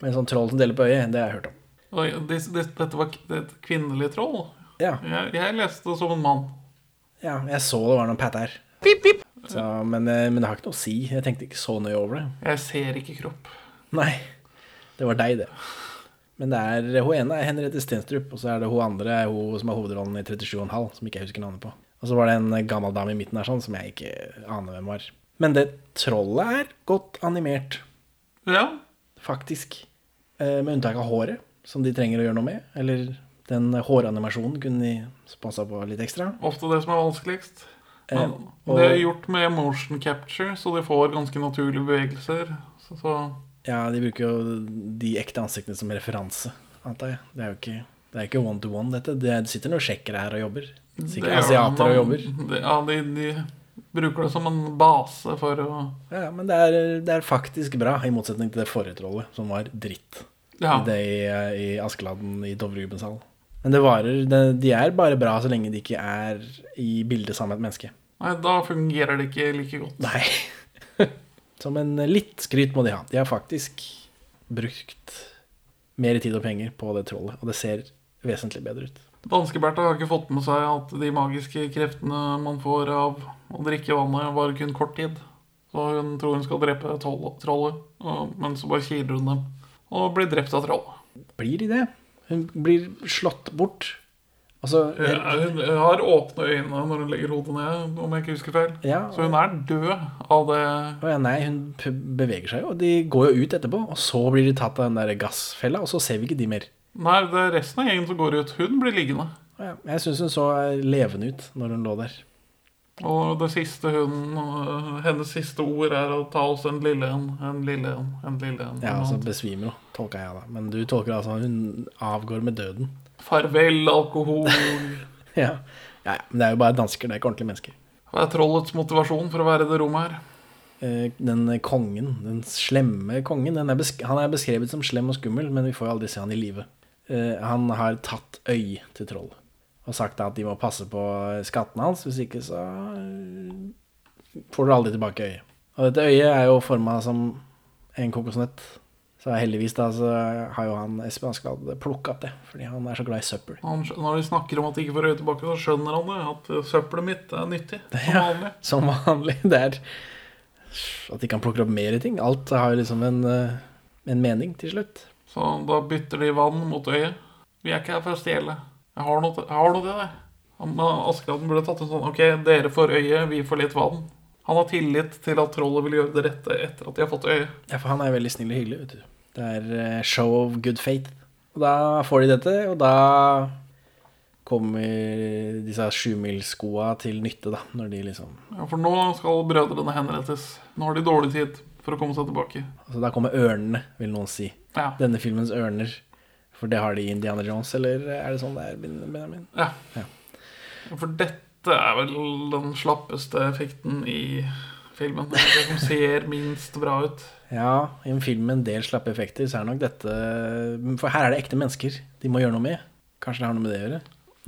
Speaker 1: Men sånn troll som deler på øyet, det har jeg hørt om.
Speaker 2: Oi, det, det, dette var k- det er et kvinnelig troll?
Speaker 1: Ja.
Speaker 2: Jeg, jeg leste det som en mann.
Speaker 1: Ja, jeg så det var noen pat her.
Speaker 2: Pip, pip.
Speaker 1: Så, men, eh, men det har ikke noe å si. Jeg tenkte ikke så nøye over det.
Speaker 2: Jeg ser ikke kropp.
Speaker 1: Nei, det var deg, det. Men det er hun ene er Henriette Stenstrup, og så er det hun andre er hun som har hovedrollen i 37,5, som ikke jeg husker navnet på. Og så var det en gammel dame i midten her sånn, som jeg ikke aner hvem var. Men det trollet er godt animert,
Speaker 2: Ja,
Speaker 1: faktisk. Eh, Med unntak av håret, som de trenger å gjøre noe med. Eller den håranimasjonen kunne de sponsa på litt ekstra.
Speaker 2: ofte det som er vanskeligst. Men
Speaker 1: Eh, og-
Speaker 2: det er gjort med motion capture, så de får ganske naturlige bevegelser. Så, så
Speaker 1: Ja, de bruker jo de ekte ansiktene som referanse, antar jeg. Det er jo ikke, det er ikke one to one, dette. Det sitter noen sjekkere her og jobber.
Speaker 2: det
Speaker 1: Sikkert
Speaker 2: gjør
Speaker 1: asiater
Speaker 2: man-
Speaker 1: og jobber.
Speaker 2: Det, ja, de, de bruker det som en base for å
Speaker 1: Ja, men det er, det er faktisk bra, i motsetning til det forrige trollet, som var dritt.
Speaker 2: Ja.
Speaker 1: I det i, i Askeladden i Dovregubbens hall. Men det varer, det, de er bare bra så lenge de ikke er i bildet sammen med et menneske. [LAUGHS]
Speaker 2: Nei, da fungerer det ikke like godt.
Speaker 1: Nei. Som en litt skryt må de ha. De har faktisk brukt mer tid og penger på det trollet, og det ser vesentlig bedre ut.
Speaker 2: Danskebertha har ikke fått med seg at de magiske kreftene man får av å drikke vannet, var kun kort tid. Så hun tror hun skal drepe troll- trollet, og- men så bare kiler hun dem. og blir drept av troll.
Speaker 1: Blir de det? Hun blir slått bort. Altså,
Speaker 2: Hun hun har åpne øyne når hun legger hodet ned, om jeg ikke husker feil.
Speaker 1: Ja.
Speaker 2: Så hun er død av det
Speaker 1: Å ja, nei, hun p- beveger seg jo. og De går jo ut etterpå, og så blir de tatt av den der gassfella, og så ser vi ikke de mer.
Speaker 2: Nei, det er resten av gjengen som går ut. Hun blir liggende.
Speaker 1: Jeg syns hun så eh, levende ut når hun lå der.
Speaker 2: Og det siste hun øh, hennes siste ord er å ta oss en lille en, en lille en, en lille en.
Speaker 1: Ja, altså besvimer hun, tolka jeg da. Men du tolker altså hun avgår med døden. [LAUGHS]
Speaker 2: Farvel, alkohol.
Speaker 1: Ja, ja, ja. Men det er jo bare dansker, det er ikke ordentlige mennesker.
Speaker 2: Hva er trollets motivasjon for å være i det rommet her?
Speaker 1: Eh, Den kongen, den slemme kongen, den er besk han er beskrevet som slem og skummel, men vi får jo aldri se han i live. Eh, Han har tatt øy til troll og sagt da at de må passe på eh, skattene hans, hvis ikke så eh, får du aldri tilbake øyet. Og dette øyet er jo forma som en kokosnøtt. Så heldigvis da så har jo han Espen Askeladd plukka opp det, fordi han er så glad i søppel. [LAUGHS]
Speaker 2: Han, skj- når de snakker om at de ikke får øye tilbake, så skjønner han det. At eh, søppelet mitt er nyttig. Som vanlig.
Speaker 1: Som vanlig. Det er at de kan plukke opp mer ting. Alt har jo liksom en, eh, en mening til slutt.
Speaker 2: Så da bytter de vann mot øyet. Vi er ikke her for å stjele. Jeg har noe, til- jeg har noe til deg. Han- men Askeladden burde tatt en sånn Ok, dere får øyet, vi får litt vann. Han har tillit til at trollet vil gjøre det rette etter at de har fått øyet.
Speaker 1: Ja, for han er veldig snill og hyggelig, vet du. Det er eh, show of good faith. Og da får de dette, og da kommer disse sjumilsskoa til nytte, da. Når de liksom
Speaker 2: Ja, For nå skal brødrene henrettes. Nå har de dårlig tid for å komme seg tilbake.
Speaker 1: Altså, da kommer ørnene, vil noen si.
Speaker 2: Ja.
Speaker 1: Denne filmens ørner. For det har de i Indiana Jones, eller er det sånn det er, Benjamin?
Speaker 2: Ja. For dette er vel den slappeste effekten i filmen. Det som ser minst bra ut.
Speaker 1: Ja, i en film med en del slappe effekter, så er nok dette For her er det ekte mennesker de må gjøre noe med. Kanskje det har noe med det å gjøre?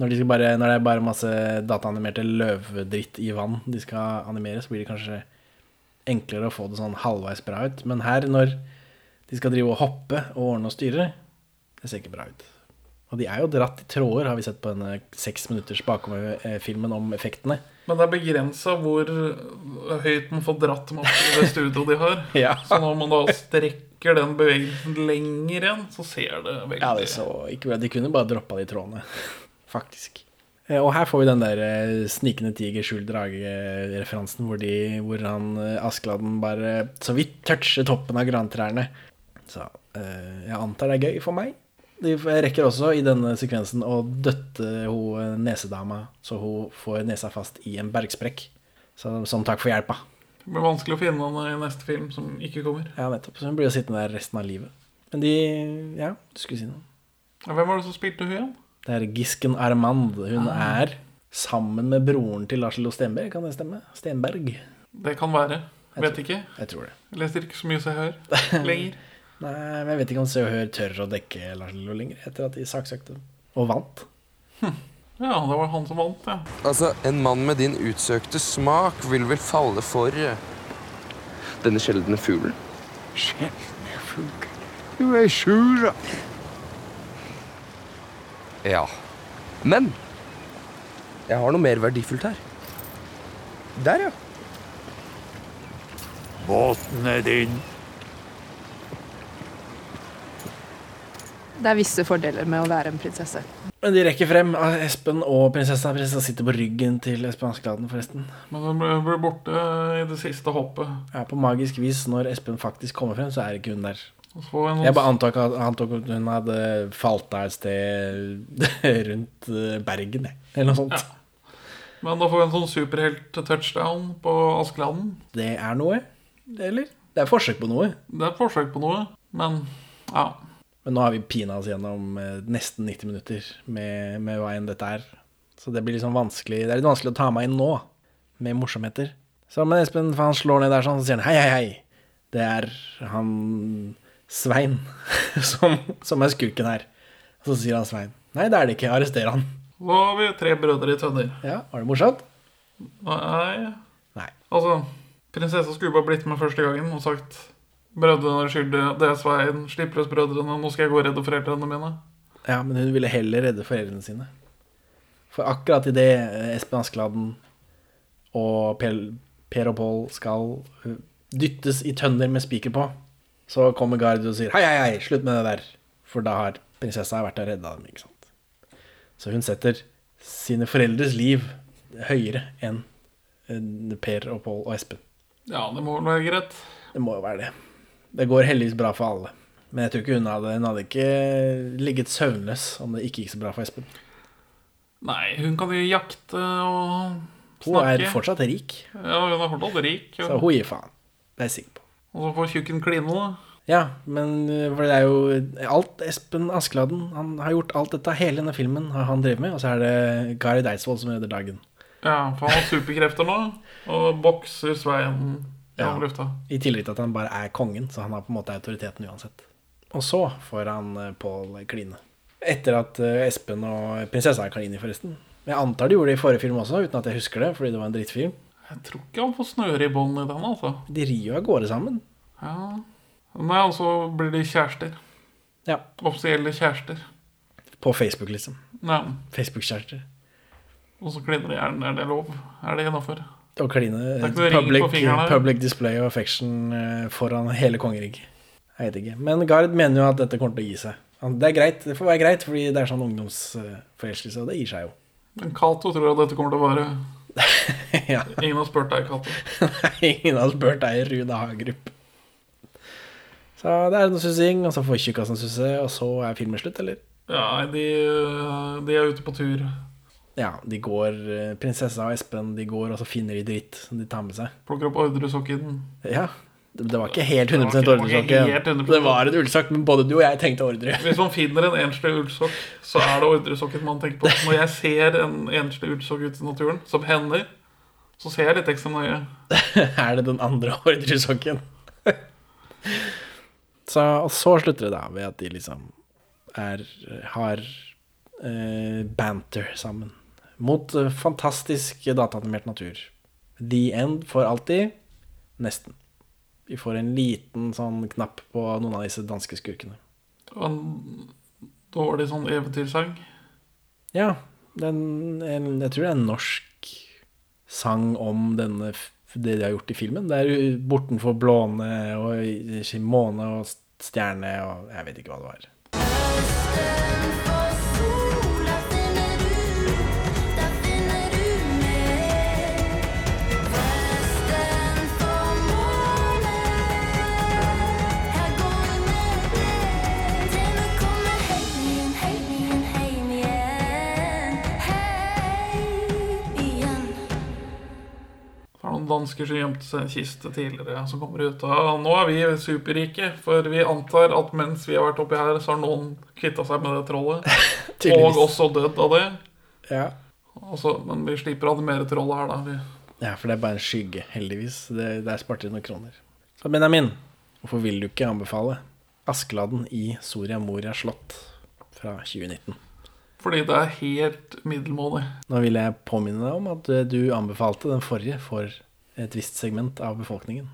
Speaker 1: Når, de skal bare, når det er bare masse dataanimerte løvedritt i vann de skal animere, så blir det kanskje enklere å få det sånn halvveis bra ut. Men her, når de skal drive og hoppe og ordne og styre, det ser ikke bra ut. Og de er jo dratt i tråder, har vi sett på denne seks minutters bakom-filmen om effektene.
Speaker 2: Men det er begrensa hvor høyt man får dratt med opp i det studioet de har.
Speaker 1: [LAUGHS] Ja.
Speaker 2: Så når man da strekker den bevegelsen lenger igjen, så ser det veldig
Speaker 1: Ja, det så ikke bra. De kunne bare droppa de trådene, [LAUGHS] faktisk. Eh, Og her får vi den der eh, snikende tiger, skjul drage-referansen, hvor, de, hvor han eh, Askeladden bare eh, så vidt toucher toppen av grantrærne. Så eh, jeg antar det er gøy for meg. De f- rekker også i denne sekvensen å døtte hun eh, nesedama, så hun får nesa fast i en bergsprekk. Så, som takk for hjelpa.
Speaker 2: Det blir vanskelig å finne den i neste film som ikke kommer.
Speaker 1: Ja, nettopp. Så hun blir jo sittende der resten av livet. Men de Ja, du skulle si noe.
Speaker 2: Ja, Hvem var det som spilte hun igjen?
Speaker 1: Det er Gisken Armand. Hun
Speaker 2: Ah.
Speaker 1: er sammen med broren til Lars Lo Stenberg, kan det stemme? Stenberg.
Speaker 2: Det kan være.
Speaker 1: Jeg
Speaker 2: Vet
Speaker 1: tror-
Speaker 2: ikke.
Speaker 1: Jeg tror det.
Speaker 2: Jeg leser ikke så mye som jeg hører
Speaker 1: [LAUGHS]
Speaker 2: lenger.
Speaker 1: Nei, men jeg vet ikke om Se og Hør tør å dekke Lars Lo lenger, etter at de saksøkte og vant.
Speaker 2: Ja, det var han som vant, ja.
Speaker 5: Altså, en mann med din utsøkte smak vil vel falle for eh, denne sjeldne fuglen?
Speaker 14: Sjeldne fugl. Du er sur.
Speaker 5: Ja. Men jeg har noe mer verdifullt her. Der, ja.
Speaker 14: Båten er din.
Speaker 12: Det er visse fordeler med å være en prinsesse.
Speaker 1: Men de rekker frem ah, Espen og prinsessa. Prinsessa sitter på ryggen til Espen Askeladden, forresten.
Speaker 2: Men hun ble- ble borte i det siste hoppet.
Speaker 1: Ja, på magisk vis, når Espen faktisk kommer frem, så er ikke hun der.
Speaker 2: Og så får hun
Speaker 1: Jeg bare antok at, antok at hun hadde falt av et sted [LAUGHS] rundt eh, Bergen, jeg, eller noe sånt.
Speaker 2: Men da får vi en sånn superhelt-touchdown på Askeladden.
Speaker 1: Det er noe, eller? Det er forsøk på noe.
Speaker 2: Det er forsøk på noe, men ja.
Speaker 1: Men nå har vi pina oss gjennom eh, nesten 90 minutter med, med hva enn dette er. Så det blir liksom vanskelig Det er litt vanskelig å ta meg inn nå, med morsomheter. Så men Espen for han slår ned der sånn, så sier han hei, hei, hei. Det er han Svein [LAUGHS] som, som er skurken her. Og så sier han Svein nei, det er det ikke, arrester han.
Speaker 2: Da har vi tre brødre i tønner.
Speaker 1: Ja, Var det morsomt?
Speaker 2: Nei.
Speaker 1: Nei.
Speaker 2: Altså, prinsessa skulle bare blitt med første gangen og sagt Brødrene er skyldige, det er Svein, slipp løs brødrene, nå skal jeg gå og redde foreldrene mine.
Speaker 1: Ja, men hun ville heller redde foreldrene sine. For akkurat idet Espen Askeladden eh, og per, per og Pål skal dyttes i tønner med spiker på, Så kommer Gard og sier hei, hei, hei, slutt med det der. For da har prinsessa vært og redda dem. ikke sant? Så hun setter sine foreldres liv høyere enn eh, Per og Pål og Espen.
Speaker 2: Ja, det må vel være greit.
Speaker 1: Det må jo være det. Det går heldigvis bra for alle. Men jeg tror ikke hun hadde, hun hadde ikke ligget søvnløs om det ikke gikk så bra for Espen.
Speaker 2: Nei, hun kan jo jakte og
Speaker 1: Hun
Speaker 2: snakke.
Speaker 1: er fortsatt rik,
Speaker 2: Ja, hun er fortsatt rik.
Speaker 1: så hun gir faen. Det er jeg sikker på.
Speaker 2: Og så får tjukken kline, da.
Speaker 1: Ja, men eh, for det er jo alt Espen Askeladden Han har gjort alt dette, hele denne filmen har han drevet med. Og så er det Gary Deidsvold som redder dagen.
Speaker 2: Ja, for han har superkrefter nå, og bokser Svein
Speaker 1: Ja.
Speaker 2: gjennom lufta.
Speaker 1: I tillegg til at han bare er kongen, så han har på en måte autoriteten uansett. Og så får han eh, Paul kline. Etter at eh, Espen og prinsessa er kaniner, forresten. Jeg antar de gjorde det i forrige film også, uten at jeg husker det, fordi det var en drittfilm.
Speaker 2: Jeg tror ikke han får snøre i bånd i den, altså.
Speaker 1: De rir jo av gårde sammen.
Speaker 2: Ja. Nei, og så blir de kjærester.
Speaker 1: Ja.
Speaker 2: Offisielle kjærester.
Speaker 1: På Facebook, liksom.
Speaker 2: Ja.
Speaker 1: Facebook-kjærester.
Speaker 2: Og så kliner de hjernen. Er det lov? Er det innafor?
Speaker 1: Og kline
Speaker 2: Det er ikke noe ring på
Speaker 1: public,
Speaker 2: fingrene.
Speaker 1: public display of affection eh, foran hele kongeriket. Jeg vet ikke. Men Gard mener jo at dette kommer til å gi seg. Han- Det er greit, det får være greit, fordi det er sånn ungdomsforelskelse, og det gir seg jo. [LAUGHS]
Speaker 2: Men Cato tror at dette kommer til å vare.
Speaker 1: Ja.
Speaker 2: Ingen har spurt deg, Cato.
Speaker 1: Ingen har spurt deg, Rune Hagerup. Så det er noe sussing, og så får tjukkasen susse, og så er filmen slutt, eller?
Speaker 2: Ja, nei, de, øh, de er ute på tur.
Speaker 1: Ja, de går, eh, prinsessa og Espen, de går, og så finner de dritt som de tar med seg.
Speaker 2: Plukker opp ordresokken.
Speaker 1: Ja, det, det var ikke helt
Speaker 2: Det var
Speaker 1: 100
Speaker 2: ikke- det var ikke helt
Speaker 1: ordresokke.
Speaker 2: 100%.
Speaker 1: Det var en ullsokk, men både du og jeg tenkte ordre.
Speaker 2: Hvis man finner en enslig ullsokk, så er det ordresokken man tenker på. Når jeg ser en enslig ullsokk ute i naturen, som hender, så ser jeg litt ekstra nøye.
Speaker 1: [LAUGHS] er det den andre ordresokken. [LAUGHS] så, og så slutter det da ved at de liksom er, har eh, banter sammen. Mot eh, fantastisk dataanimert natur. The End for alltid. Nesten. Vi får en liten sånn knapp på noen av disse danske skurkene.
Speaker 2: Og en dårlig sånn eventyrsang.
Speaker 1: Ja, den, en, jeg tror det er en norsk sang om denne, f- det de har gjort i filmen. Det er jo bortenfor blåne og i- i måne og s- stjerne og jeg vet ikke hva det var.
Speaker 2: Det er noen dansker som gjemte seg i en kiste tidligere, som kommer ut. Og nå er vi superrike, for vi antar at mens vi har vært oppi her, så har noen kvitta seg med det trollet.
Speaker 1: Tydeligvis.
Speaker 2: og også dødd av det.
Speaker 1: Ja.
Speaker 2: Altså, men vi slipper å animere trollet her, da. Vi,
Speaker 1: Ja, for det er bare en skygge, heldigvis. Det, der sparte de noen kroner. Så Benjamin, hvorfor vil du ikke anbefale Askeladden i Soria Moria slott fra 2019?
Speaker 2: fordi det er helt middelmådig.
Speaker 1: Nå vil jeg påminne deg om at eh, du anbefalte den forrige for et visst segment av befolkningen.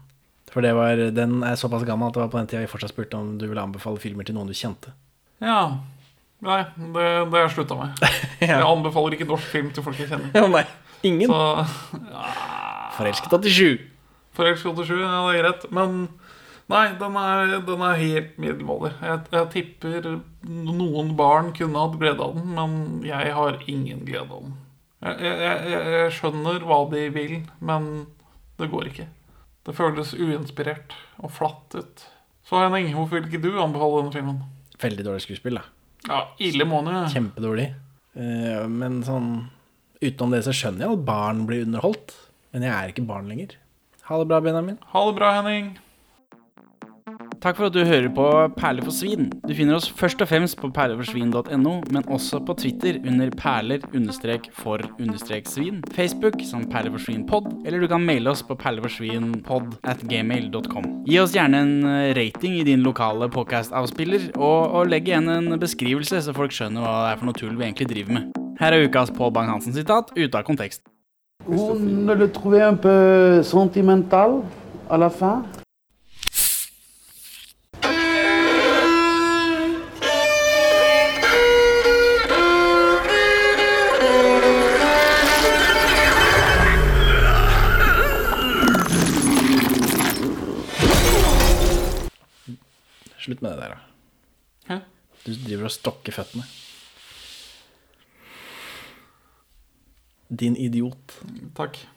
Speaker 1: For det var, den er såpass gammel at det var på den tida vi fortsatt spurte om du ville anbefale filmer til noen du kjente.
Speaker 2: Ja. Nei, det, det har jeg slutta med. Jeg anbefaler ikke norsk film til folk jeg kjenner.
Speaker 1: Å nei, ingen
Speaker 2: Så,
Speaker 1: Forelsket 87.
Speaker 2: Forelsket 87, ja, det er greit. Men nei, den er, den er helt middelmådig. Jeg, jeg tipper noen barn kunne hatt glede av den, men jeg har ingen glede av den. Jeg, jeg- jeg, jeg, jeg skjønner hva de vil, men det går ikke. Det føles uinspirert og flatt ut. Så Henning, hvorfor vil ikke du anbefale denne filmen?
Speaker 1: Veldig dårlig skuespill, da.
Speaker 2: Ja, ille måned.
Speaker 1: Kjempedårlig. Eh, Men sånn utenom det så skjønner jeg at barn blir underholdt. Men jeg er ikke barn lenger. Ha det bra, Benjamin.
Speaker 2: Ha det bra, Henning.
Speaker 15: Takk for at du hører på Perler for svin. Du finner oss først og fremst på perleforsvin.no, men også på Twitter under perler-for-svin, Facebook som perleforsvinpod, eller du kan maile oss på perleforsvinpod at gmail.com. Gi oss gjerne en eh, rating i din lokale podcast-avspiller, og, og legg igjen en beskrivelse, så folk skjønner hva det er for noe tull vi egentlig driver med. Her er ukas Pål Bang-Hansen-sitat ute av kontekst.
Speaker 16: Vous ne le trouvez un peu sentimental à la fin
Speaker 1: Slutt med det der, da.
Speaker 2: Hæ?
Speaker 1: Du driver og stokker føttene. Din idiot.
Speaker 2: Takk.